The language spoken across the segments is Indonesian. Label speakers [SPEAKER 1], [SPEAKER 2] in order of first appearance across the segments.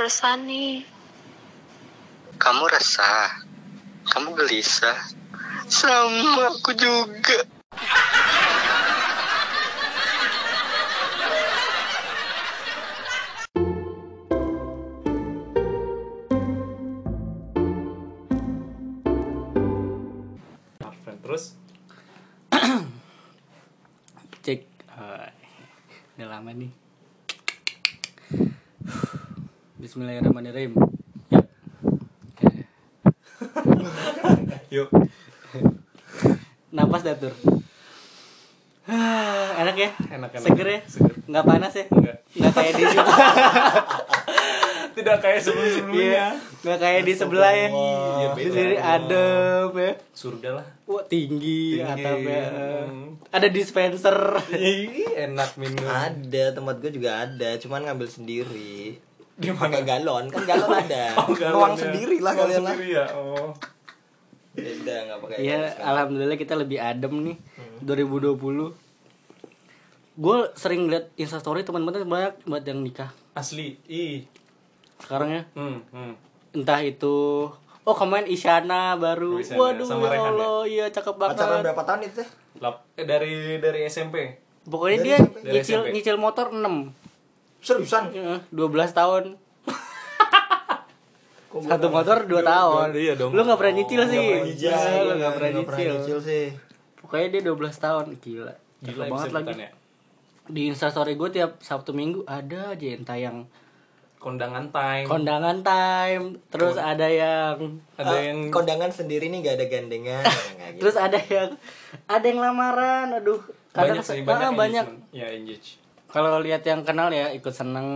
[SPEAKER 1] resah nih.
[SPEAKER 2] Kamu resah. Kamu gelisah. Sama aku juga.
[SPEAKER 3] Alfred terus
[SPEAKER 4] cek Eh, udah lama nih Bismillahirrahmanirrahim ya Eh,
[SPEAKER 3] yuk
[SPEAKER 4] napas datur Ah, enak ya
[SPEAKER 3] Enak, enak.
[SPEAKER 4] seger ya
[SPEAKER 3] Seger.
[SPEAKER 4] nggak panas ya
[SPEAKER 3] Nggak.
[SPEAKER 4] nggak kayak di
[SPEAKER 3] tidak kayak sebelum
[SPEAKER 4] Iya,
[SPEAKER 3] sebelumnya
[SPEAKER 4] nggak kayak di sebelah ya
[SPEAKER 3] Iya, beda.
[SPEAKER 4] jadi adem ya
[SPEAKER 3] surga lah
[SPEAKER 4] Wah
[SPEAKER 3] Tinggi.
[SPEAKER 4] tinggi, atapnya.
[SPEAKER 3] Hmm.
[SPEAKER 4] Ada dispenser.
[SPEAKER 3] Ih, enak minum
[SPEAKER 5] Ada tempat gue juga ada, cuman ngambil sendiri.
[SPEAKER 3] di mana
[SPEAKER 5] Pakai galon, kan galon ada.
[SPEAKER 3] Oh, galon
[SPEAKER 5] Nuang
[SPEAKER 3] ya.
[SPEAKER 5] sendiri lah
[SPEAKER 3] Nuang
[SPEAKER 5] kalian lah.
[SPEAKER 3] sendiri ya oh
[SPEAKER 5] Beda nggak pakai.
[SPEAKER 4] Iya,
[SPEAKER 3] gitu.
[SPEAKER 4] alhamdulillah kita lebih adem nih
[SPEAKER 3] Hmm.
[SPEAKER 4] 2020. Gue sering liat instastory teman-teman banyak buat yang nikah.
[SPEAKER 3] asli ih
[SPEAKER 4] Sekarang ya,
[SPEAKER 3] hmm, hmm.
[SPEAKER 4] entah itu Oh kemarin Isyana baru,
[SPEAKER 3] Isyana,
[SPEAKER 4] waduh
[SPEAKER 3] sama
[SPEAKER 4] ya
[SPEAKER 3] Rehan ya?
[SPEAKER 4] Allah, iya cakep banget.
[SPEAKER 5] Pacaran berapa tahun itu? Teh?
[SPEAKER 3] Lap, eh, dari dari SMP
[SPEAKER 4] Pokoknya
[SPEAKER 5] Dari
[SPEAKER 4] dia
[SPEAKER 5] SMP?
[SPEAKER 3] Dari
[SPEAKER 4] nyicil
[SPEAKER 3] SMP.
[SPEAKER 4] nyicil motor 6
[SPEAKER 5] Seriusan?
[SPEAKER 4] 12 tahun
[SPEAKER 5] Kok gua
[SPEAKER 4] Satu motor 2 tahun
[SPEAKER 3] iya dong.
[SPEAKER 4] Lu gak pernah nyicil
[SPEAKER 3] Nggak
[SPEAKER 4] sih
[SPEAKER 3] pernah
[SPEAKER 5] nyicil.
[SPEAKER 4] Iya, Lu
[SPEAKER 5] Nggak
[SPEAKER 4] gak pernah nyicil
[SPEAKER 5] nyicil sih.
[SPEAKER 4] Pokoknya dia 12 tahun Gila Gila
[SPEAKER 3] gila
[SPEAKER 4] banget
[SPEAKER 3] bisa
[SPEAKER 4] lagi
[SPEAKER 3] bukan ya
[SPEAKER 4] Di instastory gue tiap Sabtu Minggu Ada aja yang tayang
[SPEAKER 3] kondangan time
[SPEAKER 4] Kondangan time Terus ada yang
[SPEAKER 3] ada
[SPEAKER 5] Ah,
[SPEAKER 3] yang
[SPEAKER 5] kondangan sendiri nih gak ada gandengan. Nggak gitu.
[SPEAKER 4] Terus ada yang Ada yang lamaran Aduh
[SPEAKER 3] banyak
[SPEAKER 4] kadang
[SPEAKER 3] sih
[SPEAKER 4] se-
[SPEAKER 3] banyak
[SPEAKER 4] ah, banyak.
[SPEAKER 5] gitu.
[SPEAKER 3] engagement. ya engage
[SPEAKER 4] Kalau lihat yang kenal ya ikut seneng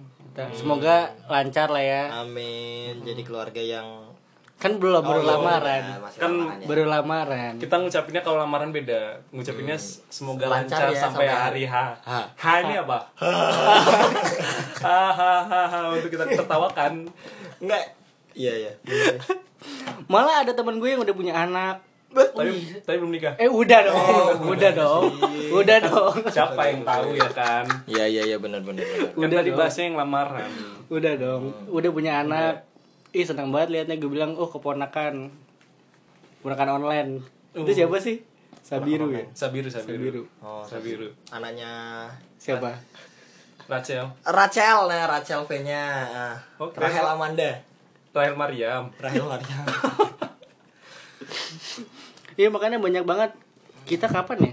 [SPEAKER 4] Kita-
[SPEAKER 5] Hmm.
[SPEAKER 4] Semoga lancar lah ya
[SPEAKER 5] Amin. Jadi keluarga yang
[SPEAKER 4] Kan belum baru
[SPEAKER 5] Ah. Oh,
[SPEAKER 4] lamaran
[SPEAKER 5] iya, masih
[SPEAKER 3] Kan
[SPEAKER 5] lamaran ya.
[SPEAKER 4] Baru lamaran
[SPEAKER 3] kita ngucapinnya kalau lamaran beda ngucapinnya s- semoga lancar,
[SPEAKER 5] Lancar ya,
[SPEAKER 3] sampai,
[SPEAKER 5] sampai
[SPEAKER 3] hari H
[SPEAKER 5] H.
[SPEAKER 3] H ini apa hahaha untuk kita tertawakan
[SPEAKER 5] Enggak. Iya iya.
[SPEAKER 4] Malah ada teman gue yang udah punya anak Oh
[SPEAKER 3] tapi tapi belum nikah
[SPEAKER 4] Eh udah dong
[SPEAKER 5] Oh,
[SPEAKER 4] Udah dong Udah dong
[SPEAKER 5] Kan
[SPEAKER 3] siapa yang tahu ya kan
[SPEAKER 5] Iya iya iya benar benar. benar.
[SPEAKER 3] kan
[SPEAKER 4] Udah
[SPEAKER 3] tadi
[SPEAKER 4] dong.
[SPEAKER 3] bahasnya yang lamaran
[SPEAKER 4] Udah dong, udah punya anak. Ih senang banget liatnya gue bilang, oh keponakan, keponakan online. Itu siapa sih? Sabiru ya.
[SPEAKER 3] sabiru
[SPEAKER 4] Sabiru.
[SPEAKER 3] sabiru
[SPEAKER 5] Oh,
[SPEAKER 3] sabiru
[SPEAKER 5] Anaknya
[SPEAKER 4] Siapa?
[SPEAKER 3] Rachel
[SPEAKER 5] Rachel nah Rachel V-nya. ah.
[SPEAKER 3] Oke.
[SPEAKER 5] Rahel Amanda.
[SPEAKER 3] Rahel Mariam
[SPEAKER 5] Rahel Maria.
[SPEAKER 4] Iya makanya banyak banget. Kita kapan ya?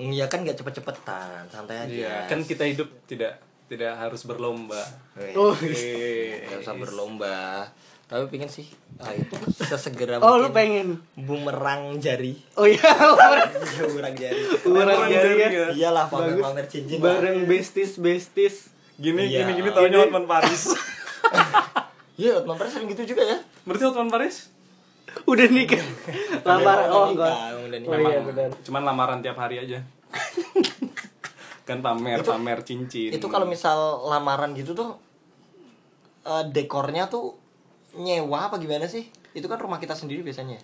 [SPEAKER 5] Iya kan gak cepet-cepetan, santai aja.
[SPEAKER 3] Iya, kan kita hidup tidak tidak harus berlomba.
[SPEAKER 5] Weh,
[SPEAKER 4] Oh,
[SPEAKER 3] Eh,
[SPEAKER 5] Gak usah berlomba. Tapi pengen sih ah, itu sesegera
[SPEAKER 4] oh lu
[SPEAKER 5] mungkin
[SPEAKER 4] pengen?
[SPEAKER 5] bumerang jari.
[SPEAKER 4] Oh iya,
[SPEAKER 5] Iya, bumerang jari.
[SPEAKER 4] orang jari ya.
[SPEAKER 3] Iya.
[SPEAKER 5] Iyalah pamer-pamer cincin. lah.
[SPEAKER 4] Bareng bestis bestis.
[SPEAKER 3] Gini
[SPEAKER 5] Iya.
[SPEAKER 3] gini gini taunya Hotman Paris.
[SPEAKER 5] Iya, Hotman Paris sering gitu juga ya.
[SPEAKER 3] Berarti Hotman Paris?
[SPEAKER 4] Udah nikah. Lamar
[SPEAKER 5] Udah
[SPEAKER 4] oh
[SPEAKER 5] nikah,
[SPEAKER 4] enggak.
[SPEAKER 5] udah nikah.
[SPEAKER 4] Oh iya benar.
[SPEAKER 3] Cuman lamaran tiap hari aja. kan pamer pamer cincin.
[SPEAKER 5] Itu kalau misal lamaran gitu tuh eh, dekornya tuh nyewa apa gimana sih? Itu kan rumah kita sendiri biasanya.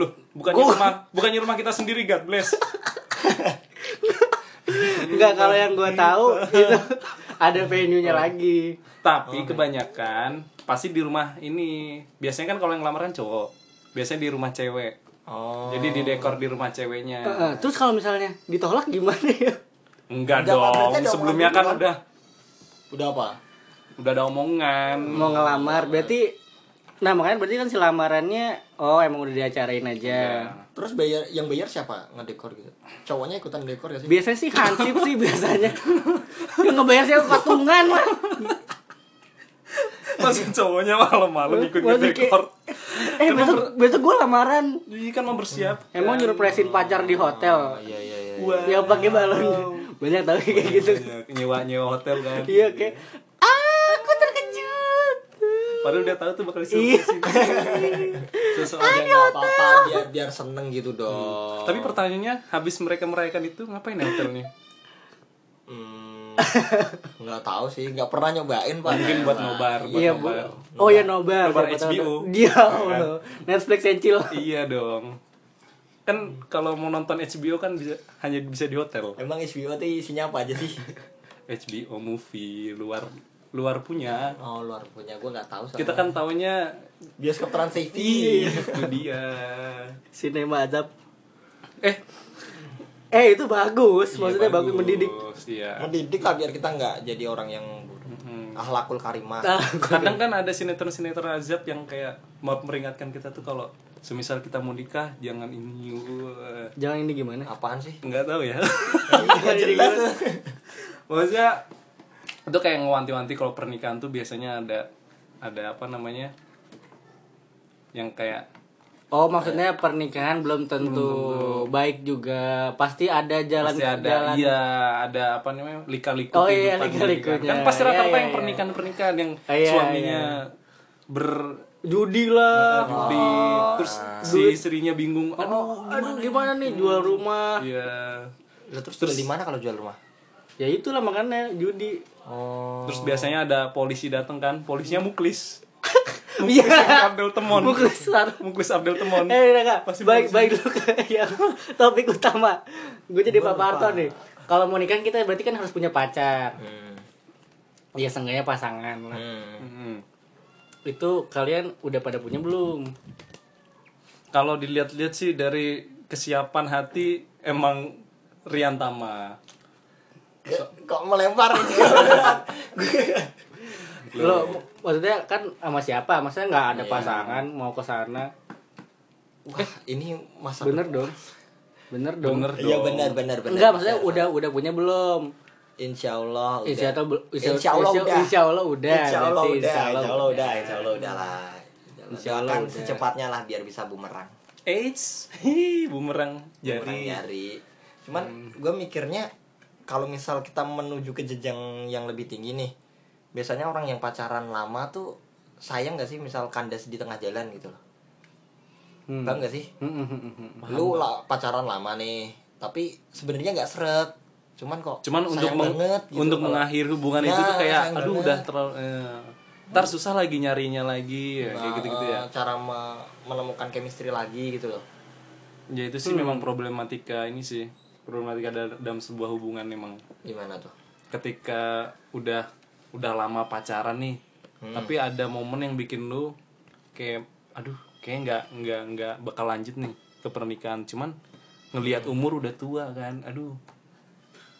[SPEAKER 3] Loh, bukannya rumah bukannya rumah kita sendiri God bless.
[SPEAKER 4] Enggak kalau yang gue tahu itu ada venue-nya lagi. Oh,
[SPEAKER 3] Tapi kebanyakan pasti di rumah ini. Biasanya kan kalau yang lamaran cowok, biasanya di rumah cewek.
[SPEAKER 5] Oh.
[SPEAKER 3] Jadi di dekor di rumah ceweknya.
[SPEAKER 4] Heeh, Terus kalau misalnya ditolak gimana ya?
[SPEAKER 3] Enggak
[SPEAKER 5] Enggak, kan
[SPEAKER 3] dong,
[SPEAKER 5] berarti ada
[SPEAKER 3] sebelumnya
[SPEAKER 5] omongan
[SPEAKER 3] kan
[SPEAKER 5] dulu
[SPEAKER 3] udah
[SPEAKER 5] Udah apa?
[SPEAKER 3] udah ada omongan.
[SPEAKER 4] Mau ngelamar berarti Nah makanya berarti kan si lamarannya Oh emang udah diacarain aja
[SPEAKER 5] Terus bayar yang bayar siapa ngedekor gitu? Cowoknya ikutan dekor ya sih?
[SPEAKER 4] Biasanya sih hansip sih biasanya Yang ngebayar siapa patungan mah
[SPEAKER 3] Masih cowoknya malam-malam ikut
[SPEAKER 4] Maksudnya
[SPEAKER 3] ngedekor.
[SPEAKER 4] kayak, Eh besok, besok gue lamaran
[SPEAKER 3] Iya kan mempersiap.
[SPEAKER 4] Emang nyurpresin pacar di hotel
[SPEAKER 5] Iya iya iya.
[SPEAKER 4] Yang pakai balon Banyak tau kayak gitu
[SPEAKER 3] Nyewa-nyewa Iya, hotel kan.
[SPEAKER 4] Iya kayak Ah aku terkejut
[SPEAKER 3] Padahal udah tahu tuh bakal
[SPEAKER 4] Iya.
[SPEAKER 3] surprise.
[SPEAKER 5] Sesuatu yang nggak apa-apa biar biar seneng gitu dong.
[SPEAKER 3] Tapi pertanyaannya habis mereka merayakan itu ngapain ya hotelnya?
[SPEAKER 5] Hmm, nggak tahu sih, nggak pernah nyobain pak.
[SPEAKER 3] Mungkin buat nobar, buat
[SPEAKER 4] Iya bu
[SPEAKER 3] nobar.
[SPEAKER 4] Oh ya nobar
[SPEAKER 3] Nobar
[SPEAKER 4] Siapa tahu-
[SPEAKER 3] HBO.
[SPEAKER 4] Dia Allah Netflix and chill
[SPEAKER 3] Iya dong. Kan kalau mau nonton HBO kan bisa hanya bisa di hotel.
[SPEAKER 5] Emang HBO tuh isinya apa aja sih?
[SPEAKER 3] HBO movie luar luar punya
[SPEAKER 5] Oh luar punya gue nggak tahu. soalnya.
[SPEAKER 3] kita kan Iya. taunya
[SPEAKER 5] bioskop Trans TV.
[SPEAKER 3] ih itu dia
[SPEAKER 4] Cinema Azab.
[SPEAKER 3] eh
[SPEAKER 4] Eh itu
[SPEAKER 3] iya,
[SPEAKER 4] bagus, maksudnya bagus, mendidik.
[SPEAKER 3] iya.
[SPEAKER 5] Mendidik lah biar kita nggak jadi orang yang buruk.
[SPEAKER 3] Mm.
[SPEAKER 5] Ahlakul karimah.
[SPEAKER 4] Ah,
[SPEAKER 3] kadang kan ada sinetron-sinetron azab yang kayak mau memperingatkan kita tuh kalau semisal kita mau nikah jangan ini wah.
[SPEAKER 4] Jangan ini gimana?
[SPEAKER 5] Apaan sih?
[SPEAKER 3] nggak tahu ya
[SPEAKER 4] Iya,
[SPEAKER 5] Nggak jelas.
[SPEAKER 4] gitu.
[SPEAKER 3] maksudnya itu kayak ngewanti-wanti kalau pernikahan tuh biasanya ada ada apa namanya yang kayak
[SPEAKER 4] Oh maksudnya pernikahan belum tentu baik juga. Pasti ada jalan
[SPEAKER 3] pasti ada
[SPEAKER 4] jalan.
[SPEAKER 3] iya ada apa namanya lika-liku
[SPEAKER 4] Oh, iya,
[SPEAKER 3] kehidupan
[SPEAKER 4] lika-likunya.
[SPEAKER 3] pernikahan. kan pasti rata-rata
[SPEAKER 4] Iya, iya,
[SPEAKER 3] yang
[SPEAKER 4] iya.
[SPEAKER 3] pernikahan-pernikahan yang
[SPEAKER 4] Ah, iya,
[SPEAKER 3] suaminya ber
[SPEAKER 4] Judi lah.
[SPEAKER 3] di
[SPEAKER 4] Oh.
[SPEAKER 3] terus si istrinya bingung aduh
[SPEAKER 4] Aduh gimana nih jual rumah?
[SPEAKER 3] iya
[SPEAKER 5] Lah, terus terus di mana kalau jual rumah?
[SPEAKER 4] Ya itulah makanya judi.
[SPEAKER 5] Oh.
[SPEAKER 3] Terus biasanya ada polisi datang kan, polisinya muklis.
[SPEAKER 4] Iya.
[SPEAKER 3] muklis yang Abdel Temon.
[SPEAKER 4] Muklis Sar.
[SPEAKER 3] Muklis Abdel Temon.
[SPEAKER 4] Eh Raka,
[SPEAKER 3] Pasti
[SPEAKER 4] baik
[SPEAKER 3] polisi.
[SPEAKER 4] baik dulu ke yang topik utama. Gue jadi Pak Parto nih. Kalau mau nikah kita berarti kan harus punya pacar.
[SPEAKER 5] Hmm.
[SPEAKER 4] Ya seenggaknya pasangan
[SPEAKER 3] Iya.
[SPEAKER 4] lah.
[SPEAKER 5] Hmm.
[SPEAKER 3] Mm-mm.
[SPEAKER 4] Itu kalian udah pada punya belum?
[SPEAKER 3] Kalau dilihat-lihat sih dari kesiapan hati emang Riantama.
[SPEAKER 5] Kok- Kok melempar ini?
[SPEAKER 3] Iya.
[SPEAKER 4] Lo maksudnya kan sama siapa? Maksudnya nggak ada pasangan mau ke sana.
[SPEAKER 5] Wah, ini masa
[SPEAKER 4] Bener dong. Bener dong.
[SPEAKER 3] Bener dong.
[SPEAKER 5] Iya benar benar benar.
[SPEAKER 4] Enggak, maksudnya udah udah punya belum?
[SPEAKER 5] Insya Allah udah.
[SPEAKER 4] Insya Allah bel- insya-
[SPEAKER 5] Insya Allah
[SPEAKER 4] insya-
[SPEAKER 5] udah.
[SPEAKER 4] insya Allah udah,
[SPEAKER 5] Insya Allah
[SPEAKER 4] berarti
[SPEAKER 5] udah.
[SPEAKER 4] insya Allah
[SPEAKER 5] Insya Allah
[SPEAKER 4] udah.
[SPEAKER 5] udah. Insya Allah udah lah.
[SPEAKER 4] Insya
[SPEAKER 5] Insya
[SPEAKER 4] Allah
[SPEAKER 5] Allah
[SPEAKER 4] udah.
[SPEAKER 5] secepatnya lah biar bisa bumerang.
[SPEAKER 3] Eits, hi, bumerang
[SPEAKER 5] Bumerang ya.
[SPEAKER 3] jari.
[SPEAKER 5] nyari. Cuman
[SPEAKER 3] Hmm.
[SPEAKER 5] gue mikirnya kalau misal kita menuju ke jenjang yang lebih tinggi nih, biasanya orang yang pacaran lama tuh sayang gak sih misal kandas di tengah jalan gitu loh.
[SPEAKER 4] Hmm.
[SPEAKER 5] Bang gak sih?
[SPEAKER 4] Hmm, hmm, hmm, hmm.
[SPEAKER 5] Lu lah pacaran lama nih, tapi sebenarnya nggak seret. Cuman kok
[SPEAKER 3] Cuman untuk
[SPEAKER 5] sayang
[SPEAKER 3] meng-
[SPEAKER 5] banget gitu
[SPEAKER 3] untuk
[SPEAKER 5] kalau-
[SPEAKER 3] mengakhiri hubungan itu
[SPEAKER 5] Ya,
[SPEAKER 3] tuh kayak
[SPEAKER 5] sayang
[SPEAKER 3] aduh
[SPEAKER 5] banget.
[SPEAKER 3] udah terlalu eh, ntar susah lagi nyarinya lagi ya, kayak
[SPEAKER 5] Nah,
[SPEAKER 3] gitu-gitu ya.
[SPEAKER 5] eh, cara me- menemukan chemistry lagi gitu loh
[SPEAKER 3] Ya itu
[SPEAKER 5] Hmm.
[SPEAKER 3] sih memang problematika ini sih. Problematika da- dalam sebuah hubungan memang.
[SPEAKER 5] gimana tuh
[SPEAKER 3] ketika udah udah lama pacaran nih
[SPEAKER 4] Hmm.
[SPEAKER 3] tapi ada momen yang bikin lu kayak aduh kayak nggak nggak nggak bakal lanjut nih ke pernikahan cuman ngelihat umur udah tua kan aduh
[SPEAKER 4] Hmm.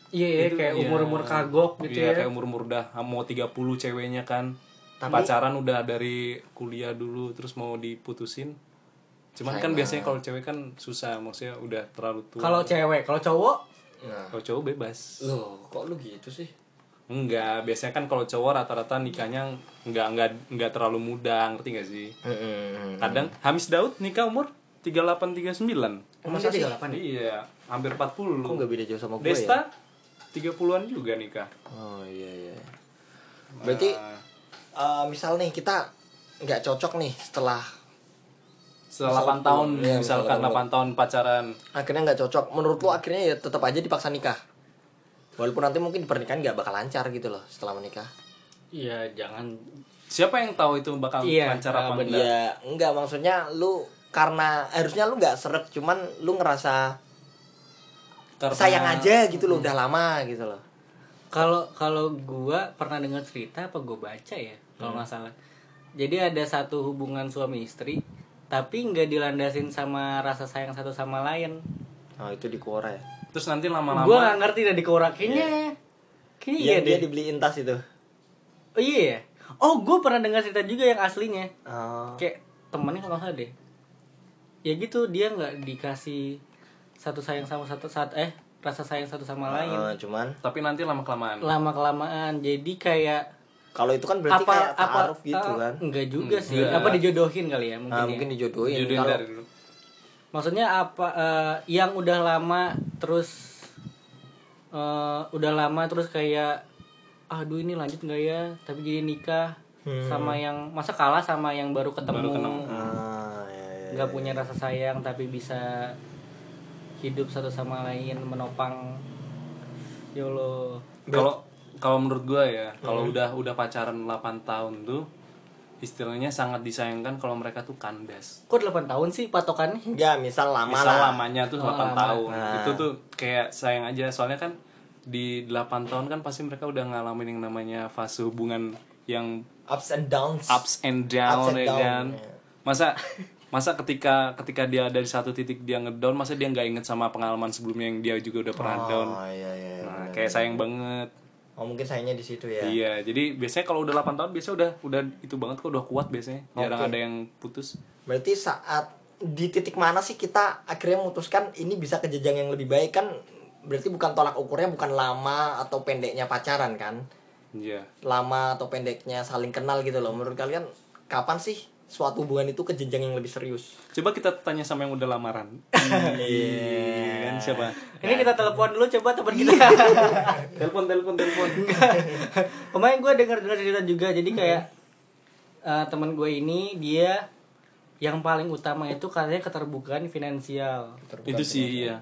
[SPEAKER 4] Iya ya, kayak umur-umur kagok gitu
[SPEAKER 3] Iya,
[SPEAKER 4] ya.
[SPEAKER 3] kayak umur umur udah mau 30 ceweknya kan pacaran udah dari kuliah dulu terus mau diputusin cuman kan biasanya kalau cewek kan susah maksudnya udah terlalu tua
[SPEAKER 4] Kalau cewek, kalau cowok
[SPEAKER 5] nah
[SPEAKER 3] kalau cowok bebas
[SPEAKER 5] loh kok lu gitu sih
[SPEAKER 3] Enggak, biasanya kan kalau cowok rata-rata nikahnya enggak enggak enggak terlalu muda, ngerti gak sih?
[SPEAKER 5] Hmm.
[SPEAKER 3] Kadang Hamis Daud nikah umur 38 39.
[SPEAKER 4] masa sih?
[SPEAKER 3] Iya, hampir
[SPEAKER 5] ya? kok
[SPEAKER 3] 40.
[SPEAKER 5] nggak beda jauh sama gue ya
[SPEAKER 3] Desta 30-an juga nikah.
[SPEAKER 5] oh iya iya berarti eh, misal nih kita nggak cocok nih setelah
[SPEAKER 3] Setelah 8 tahun,
[SPEAKER 5] Iya,
[SPEAKER 3] misalkan
[SPEAKER 5] misalkan
[SPEAKER 3] 8 tahun pacaran.
[SPEAKER 5] akhirnya nggak cocok menurut lu akhirnya ya tetap aja dipaksa nikah walaupun nanti mungkin pernikahan nggak bakal lancar gitu loh setelah menikah
[SPEAKER 4] Iya, jangan
[SPEAKER 3] Siapa yang tahu itu bakal
[SPEAKER 4] Iya,
[SPEAKER 3] lancar apa
[SPEAKER 4] bener.
[SPEAKER 3] enggak?
[SPEAKER 5] Iya, enggak maksudnya lu karena harusnya lu nggak seret cuman lu ngerasa
[SPEAKER 3] Karena-
[SPEAKER 5] sayang aja gitu loh udah lama gitu loh
[SPEAKER 4] kalau kalau gua pernah dengar cerita apa gua baca ya
[SPEAKER 3] Hmm.
[SPEAKER 4] kalau nggak salah jadi ada satu hubungan suami istri tapi nggak dilandasin sama rasa sayang satu sama lain
[SPEAKER 5] oh itu di Quora ya
[SPEAKER 3] Terus nanti
[SPEAKER 4] gua nggak
[SPEAKER 5] kan-
[SPEAKER 3] lama-lama
[SPEAKER 4] ngerti dari korak kayaknya kayaknya iya
[SPEAKER 5] iya
[SPEAKER 4] deh
[SPEAKER 5] dia dibeliin tas itu
[SPEAKER 4] oh iya ya? oh gua pernah dengar cerita juga yang aslinya
[SPEAKER 5] oh
[SPEAKER 4] kayak temennya kalau nggak salah deh ya gitu dia nggak dikasih satu sayang sama satu saat eh rasa sayang satu sama lain
[SPEAKER 5] Eh, cuman
[SPEAKER 3] tapi nanti lama-kelamaan.
[SPEAKER 4] lama kelamaan jadi kayak
[SPEAKER 5] kalau itu kan berarti kayak taaruf gitu
[SPEAKER 4] ah,
[SPEAKER 5] kan
[SPEAKER 4] enggak juga sih
[SPEAKER 3] enggak.
[SPEAKER 4] apa dijodohin kali ya mungkin,
[SPEAKER 5] nah,
[SPEAKER 4] ya.
[SPEAKER 5] mungkin dijodohin
[SPEAKER 3] Jodohin
[SPEAKER 5] kalau
[SPEAKER 3] dari dulu.
[SPEAKER 4] maksudnya apa eh, yang udah lama terus eh, udah lama terus kayak aduh ini lanjut nggak ya tapi jadi nikah sama yang masa kalah sama yang baru ketemu
[SPEAKER 3] Baru ketemu.
[SPEAKER 5] Hmm. Ah, iya, iya,
[SPEAKER 4] nggak
[SPEAKER 5] iya.
[SPEAKER 4] punya rasa sayang tapi bisa hidup satu sama lain menopang Ya yolo
[SPEAKER 3] kalau kalau menurut gua ya kalau udah udah pacaran 8 tahun tuh istilahnya sangat disayangkan kalau mereka tuh kandas
[SPEAKER 4] kok 8 tahun sih patokannya
[SPEAKER 5] enggak Ya, misal lama
[SPEAKER 3] misal
[SPEAKER 5] lah Nah.
[SPEAKER 3] lamanya tuh 8 tahun itu tuh kayak sayang aja soalnya kan di 8 tahun kan pasti mereka udah ngalamin yang namanya fase hubungan yang
[SPEAKER 5] ups and downs
[SPEAKER 3] ups and down
[SPEAKER 5] Ups and
[SPEAKER 3] ya
[SPEAKER 5] down,
[SPEAKER 3] kan
[SPEAKER 5] iya.
[SPEAKER 3] masa masa ketika ketika dia dari satu titik dia ngedown masa dia nggak inget sama pengalaman sebelumnya yang dia juga udah pernah down
[SPEAKER 5] oh iya iya iya,
[SPEAKER 3] nah,
[SPEAKER 5] bener.
[SPEAKER 3] kayak sayang banget
[SPEAKER 5] oh mungkin sayangnya di situ ya
[SPEAKER 3] iya jadi biasanya kalau udah 8 tahun biasanya udah udah itu banget kok udah kuat biasanya jarang
[SPEAKER 5] Oke.
[SPEAKER 3] ada yang putus
[SPEAKER 5] berarti saat di titik mana sih kita akhirnya memutuskan ini bisa ke jenjang yang lebih baik kan berarti bukan tolak ukurnya bukan lama atau pendeknya pacaran kan
[SPEAKER 3] iya
[SPEAKER 5] lama atau pendeknya saling kenal gitu loh menurut kalian kapan sih suatu hubungan itu ke jenjang yang lebih serius
[SPEAKER 3] coba kita tanya sama yang udah lamaran iya kan siapa
[SPEAKER 4] Ini kita telepon dulu coba teman kita.
[SPEAKER 3] telepon telepon telepon
[SPEAKER 4] Kemarin gue denger dengar cerita juga jadi kayak eh, teman gue ini dia yang paling utama itu katanya keterbukaan finansial.
[SPEAKER 3] itu sih iya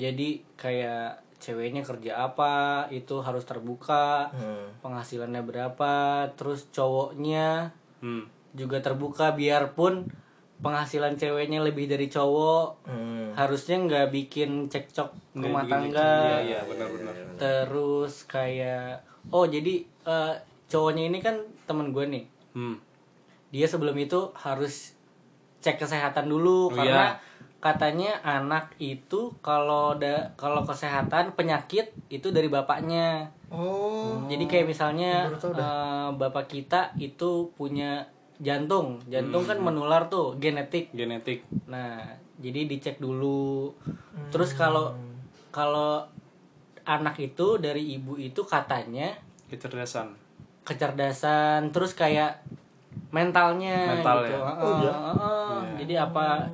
[SPEAKER 4] Jadi kayak ceweknya kerja apa itu harus terbuka,
[SPEAKER 5] Hmm.
[SPEAKER 4] penghasilannya berapa, terus cowoknya
[SPEAKER 3] hmm.
[SPEAKER 4] juga terbuka biarpun penghasilan ceweknya lebih dari cowok
[SPEAKER 3] Hmm.
[SPEAKER 5] Hmm.
[SPEAKER 4] harusnya nggak bikin cekcok rumah tangga
[SPEAKER 3] iya iya benar benar
[SPEAKER 4] terus kayak oh jadi eh, cowoknya ini kan temen gue nih
[SPEAKER 3] hmm.
[SPEAKER 4] dia sebelum itu harus cek kesehatan dulu
[SPEAKER 3] Oh,
[SPEAKER 4] karena
[SPEAKER 3] iya.
[SPEAKER 4] katanya anak itu kalau da- kalau kesehatan penyakit itu dari bapaknya
[SPEAKER 5] oh
[SPEAKER 4] jadi kayak misalnya
[SPEAKER 5] Baru tahu
[SPEAKER 4] eh, bapak kita itu punya jantung jantung kan menular tuh genetik
[SPEAKER 3] genetik
[SPEAKER 4] Nah, jadi dicek dulu. Terus kalau kalau anak itu dari ibu itu katanya
[SPEAKER 3] kecerdasan
[SPEAKER 4] kecerdasan, terus kayak mentalnya
[SPEAKER 3] Mental
[SPEAKER 4] gitu.
[SPEAKER 3] ya? Iya.
[SPEAKER 4] Heeh, heeh. Jadi apa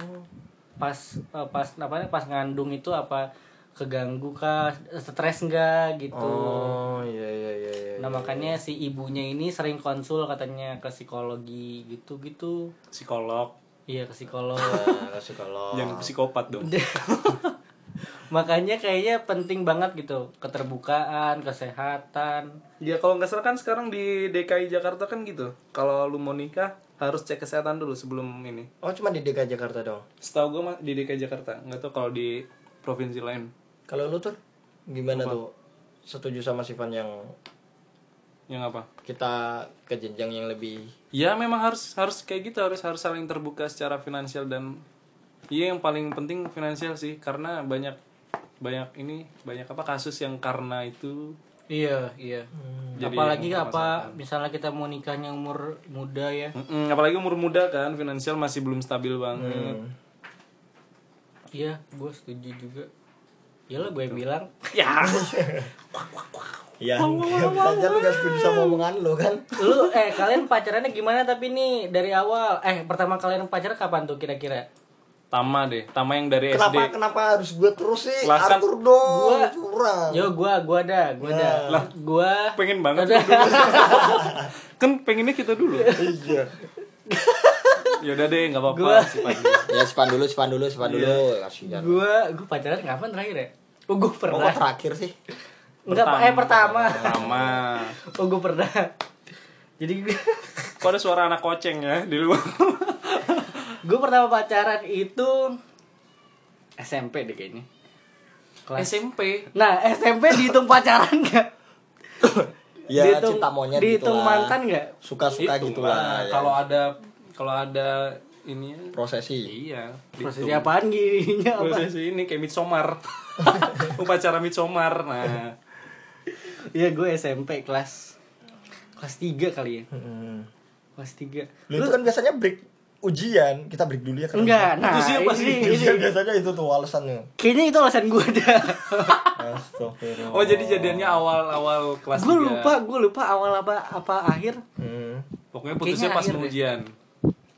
[SPEAKER 4] pas eh, pas apa pas ngandung itu apa keganggu kah, stres enggak gitu.
[SPEAKER 5] oh iya iya iya, iya.
[SPEAKER 4] Nah makanya si ibunya ini sering konsul katanya ke psikologi gitu-gitu.
[SPEAKER 3] psikolog
[SPEAKER 4] Iya ke psikolog.
[SPEAKER 5] Eh, psikolog
[SPEAKER 3] yang psikopat dong
[SPEAKER 4] Makanya kayaknya penting banget gitu keterbukaan, kesehatan.
[SPEAKER 3] Ya kalau nggak salah kan sekarang di DKI Jakarta kan gitu. Kalau lu mau nikah harus cek kesehatan dulu sebelum ini.
[SPEAKER 5] oh cuma di DKI Jakarta dong
[SPEAKER 3] Setahu gue mah di DKI Jakarta, nggak tahu kalau di provinsi lain.
[SPEAKER 5] kalau lu tuh gimana tuh setuju sama sifat yang
[SPEAKER 3] Yang Ya, apa?
[SPEAKER 5] kita ke jenjang yang lebih
[SPEAKER 3] Ya memang harus harus kayak gitu harus harus saling terbuka secara finansial dan iya yang paling penting finansial sih karena banyak banyak ini banyak apa kasus yang karena itu
[SPEAKER 4] Iya, iya.
[SPEAKER 3] Jadi
[SPEAKER 4] Apalagi
[SPEAKER 3] yang
[SPEAKER 4] apa misalnya kita mau nikahnya umur muda ya.
[SPEAKER 3] Mm-mm, apalagi umur muda kan finansial masih belum stabil
[SPEAKER 4] Hmm.
[SPEAKER 3] banget.
[SPEAKER 4] Iya, gue setuju juga. Iyalah gue yang bilang.
[SPEAKER 5] ya saja lu gak setuju sama omongan lu kan
[SPEAKER 4] Lu eh kalian pacarannya gimana tapi nih dari awal? Eh pertama kalian pacaran kapan tuh kira-kira?
[SPEAKER 3] Tama deh, tama yang dari
[SPEAKER 5] kenapa
[SPEAKER 3] SD.
[SPEAKER 5] kenapa harus gue terus sih
[SPEAKER 3] Lah kan
[SPEAKER 5] Arthur dong
[SPEAKER 4] gua-
[SPEAKER 5] curang
[SPEAKER 4] Yo gua gua ada, gua ada. Gua
[SPEAKER 3] Pengen banget
[SPEAKER 4] Udah.
[SPEAKER 3] kan pengennya kita dulu.
[SPEAKER 5] iya
[SPEAKER 3] ya udah deh nggak apa-apa
[SPEAKER 4] Gua-
[SPEAKER 3] sih Panji.
[SPEAKER 5] ya sepan dulu sepan dulu sepan dulu kasihan
[SPEAKER 4] gua gua pacaran kapan terakhir ya? Oh, gua
[SPEAKER 5] Oh, kok
[SPEAKER 4] pernah.
[SPEAKER 5] terakhir sih
[SPEAKER 4] Enggak, eh pertama.
[SPEAKER 3] pertama
[SPEAKER 4] Oh, gua pernah. Jadi
[SPEAKER 3] kok ada suara anak koceng ya di luar
[SPEAKER 4] gue pertama pacaran itu SMP deh kayaknya kelas
[SPEAKER 3] SMP
[SPEAKER 4] nah SMP dihitung pacaran nggak
[SPEAKER 5] ya
[SPEAKER 4] Dihitung-
[SPEAKER 5] cinta monyet
[SPEAKER 4] dihitung
[SPEAKER 5] gitu lah.
[SPEAKER 4] mantan nggak Nah,
[SPEAKER 5] suka suka gitu lah
[SPEAKER 3] ah,
[SPEAKER 5] ya.
[SPEAKER 3] kalau ada kalau ada ini ya.
[SPEAKER 5] prosesi
[SPEAKER 3] iya
[SPEAKER 4] prosesi apaan gininya apa
[SPEAKER 3] prosesi ini kayak midsomar upacara midsomar nah
[SPEAKER 4] iya gue SMP kelas kelas 3 kali ya
[SPEAKER 5] hmm.
[SPEAKER 4] kelas 3
[SPEAKER 5] Lu itu kan biasanya break ujian kita break dulu ya kan
[SPEAKER 4] enggak nah
[SPEAKER 3] Itu siapa
[SPEAKER 4] ini,
[SPEAKER 3] sih?
[SPEAKER 4] ini-
[SPEAKER 5] ujian biasanya itu tuh alasannya
[SPEAKER 4] kayaknya itu alasan gue dah
[SPEAKER 5] Astagfirullah.
[SPEAKER 3] oh jadi jadiannya awal awal kelas
[SPEAKER 4] gue
[SPEAKER 3] tiga.
[SPEAKER 4] lupa gue lupa awal apa apa akhir
[SPEAKER 5] Hmm.
[SPEAKER 3] pokoknya putusnya
[SPEAKER 4] Kayaknya
[SPEAKER 3] pas
[SPEAKER 4] akhir
[SPEAKER 3] mau
[SPEAKER 4] deh.
[SPEAKER 3] ujian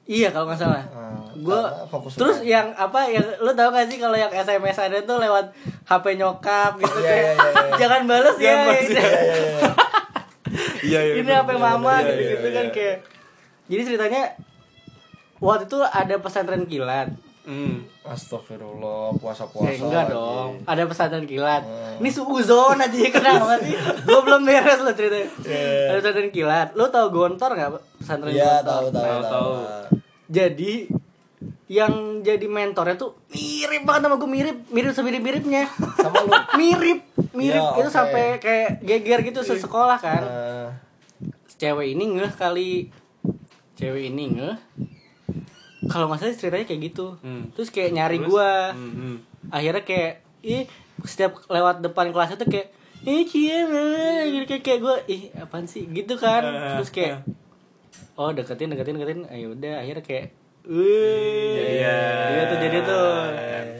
[SPEAKER 4] Iya kalau nggak salah.
[SPEAKER 5] Hmm,
[SPEAKER 4] gue
[SPEAKER 5] karena fokus
[SPEAKER 4] terus
[SPEAKER 5] udah.
[SPEAKER 4] yang apa yang lu tau gak sih kalau yang SMS ada tuh lewat HP nyokap gitu
[SPEAKER 5] Iya, iya,
[SPEAKER 4] kayak
[SPEAKER 5] iya, iya.
[SPEAKER 4] jangan bales ya.
[SPEAKER 3] Jangan bales ya."
[SPEAKER 5] Ya, ya, ya.
[SPEAKER 3] iya
[SPEAKER 4] Ini HP mama
[SPEAKER 5] iya,
[SPEAKER 4] gitu
[SPEAKER 5] iya,
[SPEAKER 4] gitu kan
[SPEAKER 3] iya.
[SPEAKER 4] kayak. Jadi ceritanya waktu itu ada pesantren kilat.
[SPEAKER 3] hmm.
[SPEAKER 5] Astagfirullah, puasa-puasa.
[SPEAKER 4] Eh, enggak
[SPEAKER 5] lagi.
[SPEAKER 4] dong. Ada pesantren kilat.
[SPEAKER 5] Ah.
[SPEAKER 4] Ini suuzon aja ya kenapa sih? Gue belum beres lo ceritanya.
[SPEAKER 5] Iya.
[SPEAKER 4] Ada pesantren kilat. Lu tau gontor nggak pesantren gontor?
[SPEAKER 5] Iya, tahu tahu
[SPEAKER 3] Tahu,
[SPEAKER 5] tahu.
[SPEAKER 4] jadi yang jadi mentornya tuh mirip banget sama gue mirip mirip semirip miripnya
[SPEAKER 5] Sama lu.
[SPEAKER 4] mirip mirip
[SPEAKER 5] Ya,
[SPEAKER 4] itu
[SPEAKER 5] oke.
[SPEAKER 4] sampai kayak geger gitu sesekolah kan
[SPEAKER 5] Eh,
[SPEAKER 4] cewek ini ngeh kali cewek ini ngeh kalau nggak salah ceritanya kayak gitu
[SPEAKER 3] Hmm.
[SPEAKER 4] terus kayak nyari
[SPEAKER 3] Terus?
[SPEAKER 4] gua
[SPEAKER 3] Hmm, hmm.
[SPEAKER 4] akhirnya kayak ih setiap lewat depan kelas itu kayak ih cie eh," gitu kayak, kayak gue ih apaan sih gitu kan
[SPEAKER 3] Eh,
[SPEAKER 4] terus kayak oh deketin deketin deketin ayo udah akhirnya kayak Wih,
[SPEAKER 3] Iya.
[SPEAKER 4] iya tuh jadi tuh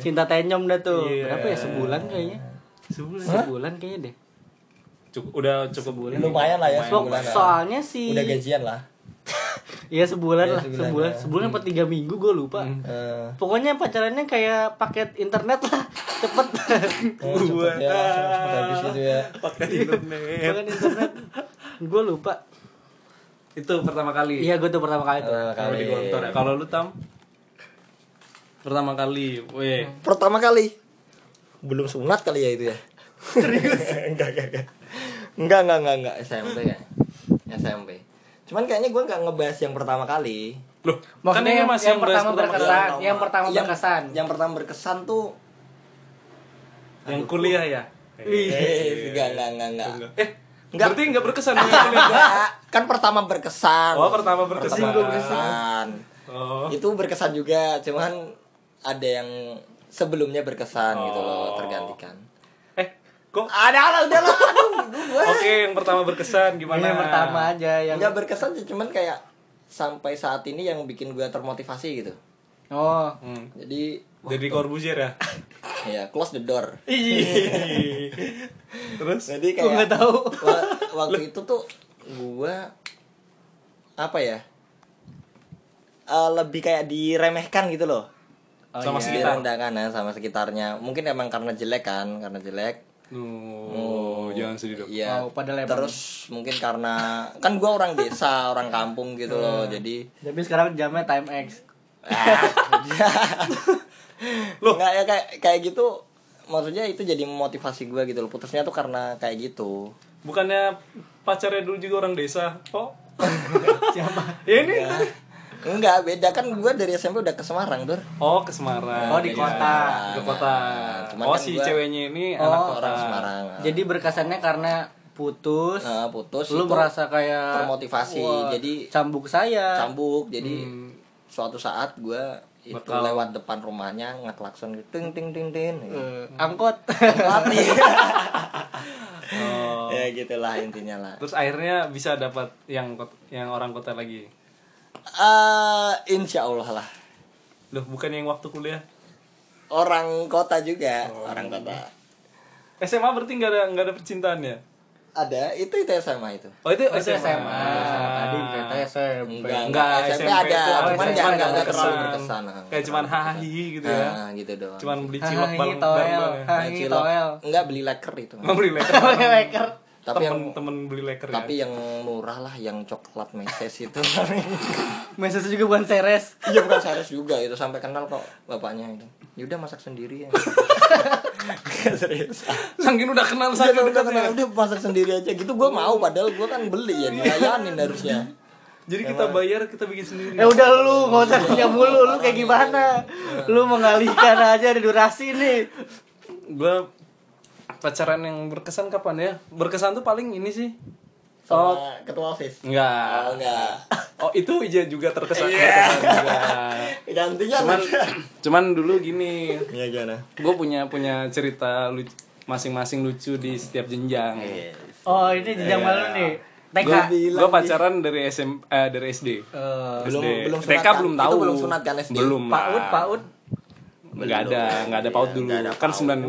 [SPEAKER 4] cinta tenyom dah tuh berapa ya sebulan kayaknya
[SPEAKER 3] Sebulan.
[SPEAKER 4] sebulan kayaknya deh
[SPEAKER 3] Cukup, udah cukup bulan.
[SPEAKER 5] lumayan lah ya
[SPEAKER 4] So-
[SPEAKER 5] sebulan lah.
[SPEAKER 4] soalnya si
[SPEAKER 5] udah gajian lah
[SPEAKER 4] Iya sebulan
[SPEAKER 5] Iya,
[SPEAKER 4] lah,
[SPEAKER 5] sebulan,
[SPEAKER 4] sebulan,
[SPEAKER 5] ya.
[SPEAKER 4] sebulan, apa tiga minggu gue lupa.
[SPEAKER 5] Eh,
[SPEAKER 4] Pokoknya pacarannya kayak paket internet lah, cepet.
[SPEAKER 5] eh, cepet ya langsung cepet habis gitu ya
[SPEAKER 3] Pakai internet.
[SPEAKER 4] Paket kan internet, gue lupa.
[SPEAKER 3] Itu pertama kali.
[SPEAKER 4] Iya gue tuh pertama kali tuh.
[SPEAKER 5] Pertama
[SPEAKER 3] Kalau di
[SPEAKER 5] kali.
[SPEAKER 3] kantor ya. Kalau lu tam pertama kali, weh.
[SPEAKER 5] pertama kali belum sunat kali ya itu ya serius enggak enggak enggak enggak enggak enggak enggak SMP ya SMP cuman kayaknya gue nggak ngebahas yang pertama kali
[SPEAKER 3] Loh,
[SPEAKER 4] Maksudnya
[SPEAKER 3] Kan ini
[SPEAKER 4] yang,
[SPEAKER 3] masih
[SPEAKER 4] yang
[SPEAKER 3] bahas
[SPEAKER 4] pertama berkesan,
[SPEAKER 5] kali.
[SPEAKER 4] yang pertama
[SPEAKER 5] Yang-
[SPEAKER 4] berkesan.
[SPEAKER 5] yang pertama berkesan tuh
[SPEAKER 3] Yang kuliah ya.
[SPEAKER 5] eh enggak enggak enggak enggak
[SPEAKER 3] Eh,
[SPEAKER 5] Enggak.
[SPEAKER 3] berarti enggak berkesan ya? yang kuliah.
[SPEAKER 5] Enggak, kan pertama berkesan
[SPEAKER 3] Oh, pertama berkesan.
[SPEAKER 5] pertama berkesan
[SPEAKER 3] Oh.
[SPEAKER 5] itu berkesan juga cuman ada yang sebelumnya berkesan gitu
[SPEAKER 3] Oh.
[SPEAKER 5] loh tergantikan
[SPEAKER 3] Eh, kok
[SPEAKER 5] ada Iya, lah udah lah aduh gue
[SPEAKER 3] Oke, yang pertama berkesan gimana?
[SPEAKER 4] Yang pertama aja yang.
[SPEAKER 5] nggak berkesan sih cuman kayak sampai saat ini yang bikin gue termotivasi gitu
[SPEAKER 4] Oh,
[SPEAKER 3] Hmm.
[SPEAKER 5] jadi
[SPEAKER 3] Jadi Corbuzier ya.
[SPEAKER 5] ya close the door
[SPEAKER 4] Iya.
[SPEAKER 3] Ih. Terus
[SPEAKER 5] jadi
[SPEAKER 4] gue nggak
[SPEAKER 5] kayak
[SPEAKER 4] tahu.
[SPEAKER 5] wa- waktu itu tuh gue apa ya Eh, lebih kayak diremehkan gitu loh
[SPEAKER 3] Oh sama
[SPEAKER 5] Iya,
[SPEAKER 3] sekitar.
[SPEAKER 5] direndahkan ya sama sekitarnya mungkin emang karena jelek kan karena jelek
[SPEAKER 3] Oh, jangan sedih dong.
[SPEAKER 5] Iya.
[SPEAKER 4] Wow, padahal emang.
[SPEAKER 5] terus mungkin karena kan gue orang desa orang kampung gitu loh
[SPEAKER 3] Hmm.
[SPEAKER 5] jadi
[SPEAKER 4] Tapi sekarang jamnya time X.
[SPEAKER 5] Loh. nggak ya kayak kayak gitu maksudnya itu jadi motivasi gue gitu loh putusnya tuh karena kayak gitu
[SPEAKER 3] Bukannya pacarnya dulu juga orang desa? Oh. Siapa? ini.
[SPEAKER 5] enggak beda kan gue dari SMP udah ke Semarang tuh
[SPEAKER 3] Oh, ke Semarang.
[SPEAKER 4] Oh, di
[SPEAKER 3] Iya.
[SPEAKER 4] kota.
[SPEAKER 3] Ke kota.
[SPEAKER 5] Cuman
[SPEAKER 3] oh,
[SPEAKER 5] kan
[SPEAKER 3] si
[SPEAKER 5] gua-
[SPEAKER 3] ceweknya ini
[SPEAKER 4] Oh,
[SPEAKER 3] anak kota.
[SPEAKER 5] orang Semarang
[SPEAKER 4] Jadi berkesannya karena putus.
[SPEAKER 5] Nah, Ah. putus
[SPEAKER 4] lu
[SPEAKER 5] itu
[SPEAKER 4] merasa kayak
[SPEAKER 5] termotivasi.
[SPEAKER 4] wah,
[SPEAKER 5] Jadi-
[SPEAKER 4] cambuk saya.
[SPEAKER 5] cambuk jadi suatu saat gue itu
[SPEAKER 3] Hmm. Bakal-
[SPEAKER 5] lewat depan rumahnya ngeklakson gitu ting ting ting ting Gitu.
[SPEAKER 4] Eh, angkot.
[SPEAKER 5] mati
[SPEAKER 3] iya. Oh.
[SPEAKER 5] ya gitulah intinya lah
[SPEAKER 3] Terus akhirnya bisa dapat yang kot- yang orang kota lagi.
[SPEAKER 5] Eh, insya Allah lah
[SPEAKER 3] Loh, bukan yang waktu kuliah.
[SPEAKER 5] orang kota juga
[SPEAKER 3] Oh.
[SPEAKER 5] orang kota
[SPEAKER 3] SMA berarti nggak ada nggak ada percintaan ya?
[SPEAKER 5] ada itu itu SMA itu
[SPEAKER 3] Oh, itu
[SPEAKER 4] Itu
[SPEAKER 3] SMA.
[SPEAKER 4] SMA. Tadi
[SPEAKER 3] Ah.
[SPEAKER 4] ya. kata SMP.
[SPEAKER 5] Enggak,
[SPEAKER 3] Enggak,
[SPEAKER 5] SMP,
[SPEAKER 3] SMP,
[SPEAKER 5] ada,
[SPEAKER 3] itu cuman
[SPEAKER 5] cuman enggak
[SPEAKER 3] nggak
[SPEAKER 5] enggak
[SPEAKER 3] berkesan.
[SPEAKER 5] terlalu berkesan.
[SPEAKER 3] Kayak cuman hahaha gitu ya.
[SPEAKER 5] Nah, gitu doang.
[SPEAKER 3] Cuman beli
[SPEAKER 4] Hahaha,
[SPEAKER 3] cilok bareng
[SPEAKER 4] toel.
[SPEAKER 3] bareng doang ya.
[SPEAKER 4] Hahaha,
[SPEAKER 5] Nah, cilok.
[SPEAKER 4] toel.
[SPEAKER 5] Enggak beli leker itu.
[SPEAKER 3] Nggak beli leker.
[SPEAKER 4] Oh, Leker.
[SPEAKER 5] Tapi yang
[SPEAKER 3] Temen-temen beli leker ya.
[SPEAKER 5] tapi yang murah lah yang coklat meses itu.
[SPEAKER 4] Meses juga bukan seres.
[SPEAKER 5] Iya bukan serius juga itu sampai kenal kok bapaknya itu. Yuda masak sendiri ya. Nggak serius.
[SPEAKER 3] Saking udah kenal
[SPEAKER 5] Iya, Udah,
[SPEAKER 3] saking ya.
[SPEAKER 5] udah, udah,
[SPEAKER 3] dekatnya.
[SPEAKER 5] udah masak sendiri aja gitu gue mau padahal gue kan beli ya dilayanin harusnya
[SPEAKER 3] Jadi kita bayar, kita bikin sendiri.
[SPEAKER 4] Eh udah lu nggak usah nanya mulu lu kayak gimana? Lu mengalihkan aja di durasi nih.
[SPEAKER 3] Gue pacaran yang berkesan kapan ya? Berkesan tuh paling ini sih.
[SPEAKER 5] sama ketua osis
[SPEAKER 3] Enggak.
[SPEAKER 5] oh enggak
[SPEAKER 3] Oh, itu Ija juga terkesan. Berkesan juga.
[SPEAKER 5] gantinya
[SPEAKER 3] Cuman cuman dulu gini,
[SPEAKER 5] ya gimana
[SPEAKER 3] gue punya punya cerita lucu masing-masing lucu di setiap jenjang.
[SPEAKER 5] Iya.
[SPEAKER 4] Oh ini jenjang malu nih. TK.
[SPEAKER 3] Gue gue pacaran dari SM eh, dari SD.
[SPEAKER 4] Eh,
[SPEAKER 5] belum
[SPEAKER 3] SD.
[SPEAKER 5] belum sunat
[SPEAKER 3] TK
[SPEAKER 5] kan?
[SPEAKER 3] belum
[SPEAKER 5] Itu
[SPEAKER 3] tahu.
[SPEAKER 5] belum sunat kan SD?
[SPEAKER 3] Belum lah.
[SPEAKER 4] Paud, Paud.
[SPEAKER 3] Nggak ada, nggak ada
[SPEAKER 5] Iya,
[SPEAKER 3] paut dulu. kan 9
[SPEAKER 4] PAUD
[SPEAKER 3] 9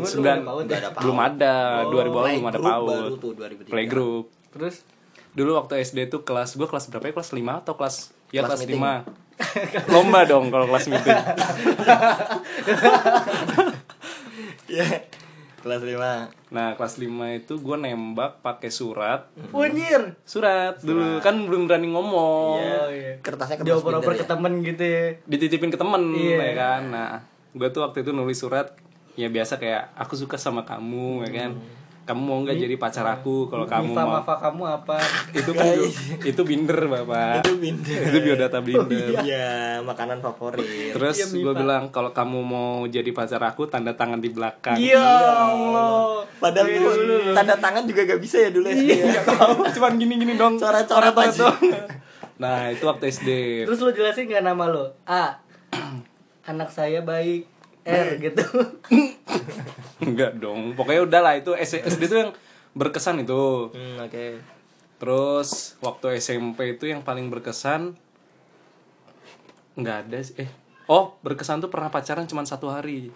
[SPEAKER 5] Nggak ada PAUD.
[SPEAKER 3] belum ada.
[SPEAKER 5] Oh,
[SPEAKER 3] 2000 awal belum ada
[SPEAKER 5] playgroup
[SPEAKER 3] paut.
[SPEAKER 5] baru tuh, 2003.
[SPEAKER 3] Playgroup.
[SPEAKER 4] Terus
[SPEAKER 3] Dulu waktu SD tuh kelas gue kelas berapa ya? Kelas 5 atau kelas ya kelas,
[SPEAKER 5] Kelas meeting.
[SPEAKER 3] 5. Lomba dong kalau kelas meeting.
[SPEAKER 5] Iya. kelas lima
[SPEAKER 3] Nah, kelas 5 itu gue nembak pakai surat.
[SPEAKER 4] Anjir.
[SPEAKER 3] Surat dulu kan belum berani ngomong.
[SPEAKER 5] Iya.
[SPEAKER 3] iya.
[SPEAKER 5] kertasnya kertas
[SPEAKER 4] Iya. Dioper-oper
[SPEAKER 5] binder
[SPEAKER 4] ke temen gitu ya.
[SPEAKER 3] dititipin ke temen
[SPEAKER 4] Iya.
[SPEAKER 3] ya kan
[SPEAKER 5] Hmm.
[SPEAKER 3] nah gue tuh waktu itu nulis surat ya biasa kayak aku suka sama kamu ya kan kamu mau nggak jadi pacar aku kalau kamu
[SPEAKER 4] Mifa
[SPEAKER 3] mau
[SPEAKER 4] mafa kamu apa?
[SPEAKER 3] itu kan
[SPEAKER 5] Guys.
[SPEAKER 3] itu binder bapak
[SPEAKER 5] Iya. Itu binder. Oh,
[SPEAKER 3] itu biodata binder
[SPEAKER 5] Iya, makanan favorit.
[SPEAKER 3] terus
[SPEAKER 4] Iya,
[SPEAKER 3] gue
[SPEAKER 4] Mifa.
[SPEAKER 3] bilang kalau kamu mau jadi pacar aku tanda tangan di belakang
[SPEAKER 5] Iya.
[SPEAKER 4] Ya Allah.
[SPEAKER 5] Padahal
[SPEAKER 3] Iya,
[SPEAKER 5] tuh
[SPEAKER 3] dulu, dulu.
[SPEAKER 5] tanda tangan juga gak bisa ya dulu SD.
[SPEAKER 3] Nggak tahu, cuman gini gini dong
[SPEAKER 5] Coret-coret
[SPEAKER 3] Coret-coret
[SPEAKER 5] aja.
[SPEAKER 3] doang. nah itu waktu SD
[SPEAKER 4] Terus lu jelasin nggak nama lo? A. Anak saya baik. R gitu.
[SPEAKER 3] enggak dong pokoknya udahlah itu S- SD itu yang berkesan itu
[SPEAKER 5] Hmm, oke.
[SPEAKER 3] terus waktu SMP itu yang paling berkesan nggak ada sih. eh oh berkesan tuh pernah pacaran cuman satu hari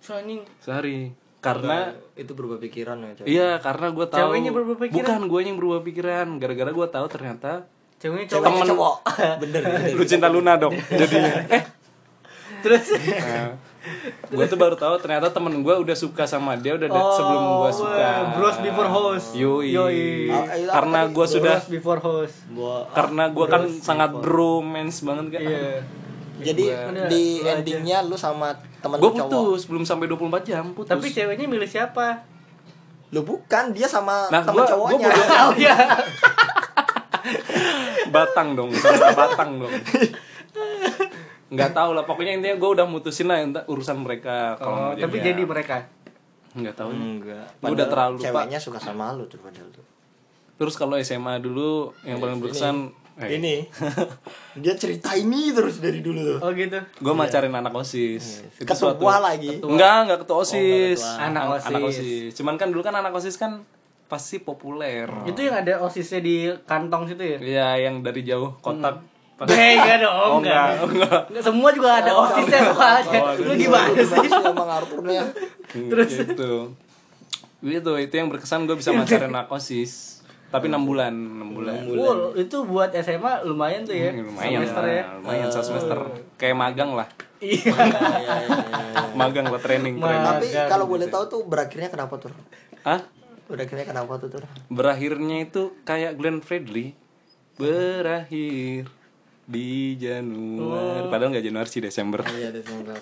[SPEAKER 4] So anjing
[SPEAKER 3] sehari karena
[SPEAKER 5] itu berubah pikiran ya, coy.
[SPEAKER 3] Iya, karena gue tahu.
[SPEAKER 4] Ceweknya berubah pikiran.
[SPEAKER 3] Bukan gue yang berubah pikiran, gara-gara gue tahu ternyata
[SPEAKER 4] ceweknya cowok.
[SPEAKER 5] Cewek cowok. Bener. bener.
[SPEAKER 3] lu cinta Luna dong. Jadinya. Eh,
[SPEAKER 4] Terus
[SPEAKER 3] gue tuh baru tahu ternyata temen gue udah suka sama dia udah da- sebelum gue
[SPEAKER 4] wah,
[SPEAKER 3] suka.
[SPEAKER 4] Oh, bros before hoes.
[SPEAKER 3] Yoi.
[SPEAKER 4] Yoi.
[SPEAKER 5] Ah, iya,
[SPEAKER 3] Karena
[SPEAKER 5] tapi
[SPEAKER 3] gue sudah
[SPEAKER 4] Bros before host.
[SPEAKER 5] Gua-
[SPEAKER 3] karena gue kan sangat bromance banget kan.
[SPEAKER 4] Iya.
[SPEAKER 5] Jadi
[SPEAKER 4] Bener,
[SPEAKER 5] di
[SPEAKER 4] lu aja.
[SPEAKER 5] endingnya lu sama temen
[SPEAKER 3] Gue
[SPEAKER 5] lu cowok.
[SPEAKER 3] putus belum sampai 24 jam putus.
[SPEAKER 4] Tapi ceweknya milih siapa?
[SPEAKER 5] Lu bukan, dia sama
[SPEAKER 3] Nah,
[SPEAKER 5] temen
[SPEAKER 3] gua- gua
[SPEAKER 5] cowoknya.
[SPEAKER 3] bodoh.
[SPEAKER 4] Oh iya.
[SPEAKER 3] batang dong, sama batang dong. Nggak tahu lah, pokoknya intinya gue udah mutusin lah ent- urusan mereka
[SPEAKER 4] Oh,
[SPEAKER 3] kalau ya. mau
[SPEAKER 4] tapi jadi mereka.
[SPEAKER 3] nggak tahu.
[SPEAKER 5] Enggak.
[SPEAKER 3] Gua udah terlalu lupa.
[SPEAKER 5] Ceweknya suka sama lu tuh padahal tuh.
[SPEAKER 3] Terus kalau SMA dulu yang paling berkesan eh,
[SPEAKER 5] Ini. dia cerita ini terus dari dulu tuh.
[SPEAKER 4] Oh gitu.
[SPEAKER 3] gue macarin anak OSIS. Itu
[SPEAKER 5] Iya. Ketua
[SPEAKER 3] suatu-
[SPEAKER 5] lagi. Oh,
[SPEAKER 3] Enggak, enggak ketua OSIS.
[SPEAKER 5] ketua.
[SPEAKER 4] Anak
[SPEAKER 3] An-
[SPEAKER 4] OSIS. Iya.
[SPEAKER 3] Cuman kan dulu kan anak OSIS kan pasti populer.
[SPEAKER 4] Itu yang ada osisnya di kantong situ ya?
[SPEAKER 3] Oh. Iya, yang dari jauh kotak. Pas-
[SPEAKER 4] Beh, enggak dong,
[SPEAKER 3] Oh,
[SPEAKER 4] Hmm. enggak.
[SPEAKER 3] enggak, enggak.
[SPEAKER 4] Enggak, semua juga ada osisnya soalnya. Lu gimana sih?
[SPEAKER 5] Sama ngarpuknya.
[SPEAKER 3] Terus gitu. Gitu, itu yang berkesan gue bisa macarin anak OSIS. Tapi 6 bulan, 6 bulan.
[SPEAKER 4] Full, itu buat SMA lumayan tuh ya.
[SPEAKER 3] Hmm, lumayan
[SPEAKER 4] semester ya.
[SPEAKER 3] lah, lumayan satu semester. Kayak magang lah. Ah,
[SPEAKER 4] Iya.
[SPEAKER 3] Magang lah training, training.
[SPEAKER 5] Tapi kalau boleh tahu tuh berakhirnya kenapa tuh?
[SPEAKER 3] Hah?
[SPEAKER 5] Berakhirnya kenapa tuh tuh?
[SPEAKER 3] Berakhirnya itu kayak Glenn Fredly Berakhir di Januari Padahal nggak Januari sih Desember
[SPEAKER 5] Iya Desember.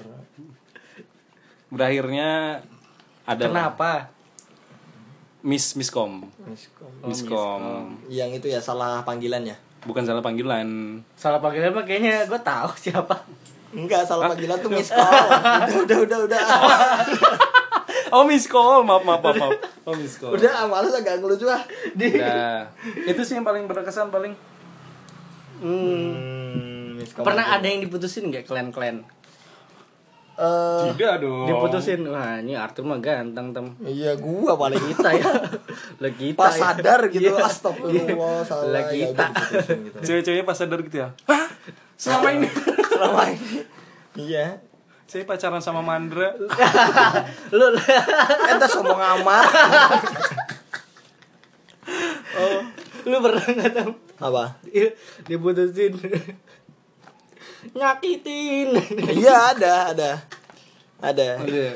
[SPEAKER 3] Berakhirnya ada
[SPEAKER 4] Kenapa?
[SPEAKER 3] Miss Miskom
[SPEAKER 5] Miskom.
[SPEAKER 3] Miskom
[SPEAKER 5] Yang itu ya salah panggilannya.
[SPEAKER 3] Bukan salah panggilan
[SPEAKER 4] Salah panggilan mah kayaknya gue tahu siapa.
[SPEAKER 5] Enggak, salah panggilan tuh miskom. Udah, udah, udah, udah.
[SPEAKER 3] Oh Miskom maaf maaf maaf, maaf. Oh Miskom
[SPEAKER 5] Udah, ah, males agak ngelucu ah.
[SPEAKER 4] Di
[SPEAKER 3] Udah. Nah, Itu sih yang paling berkesan paling
[SPEAKER 4] Hmm.
[SPEAKER 5] Hmm, miskom.
[SPEAKER 4] Pernah ada yang diputusin nggak klan-klan?
[SPEAKER 5] Eh,
[SPEAKER 3] Tidak dong
[SPEAKER 4] Diputusin. Wah, ini Arthur mah ganteng, Tem.
[SPEAKER 5] iya gua paling
[SPEAKER 4] Kita ya. Lagi kita.
[SPEAKER 5] pas
[SPEAKER 4] ya.
[SPEAKER 5] sadar gitu
[SPEAKER 4] Iya.
[SPEAKER 5] astagfirullah salah
[SPEAKER 4] Lagi
[SPEAKER 5] ya udah diputusin gitu.
[SPEAKER 3] Cewek-ceweknya pas sadar gitu ya Hah? Selama ini
[SPEAKER 5] selama ini iya
[SPEAKER 3] Saya pacaran sama Mandra
[SPEAKER 4] Lu
[SPEAKER 5] entah Eh, sombong amat
[SPEAKER 4] lu pernah nggak Tem?
[SPEAKER 5] apa
[SPEAKER 4] Iya, diputusin nyakitin
[SPEAKER 5] iya ada ada ada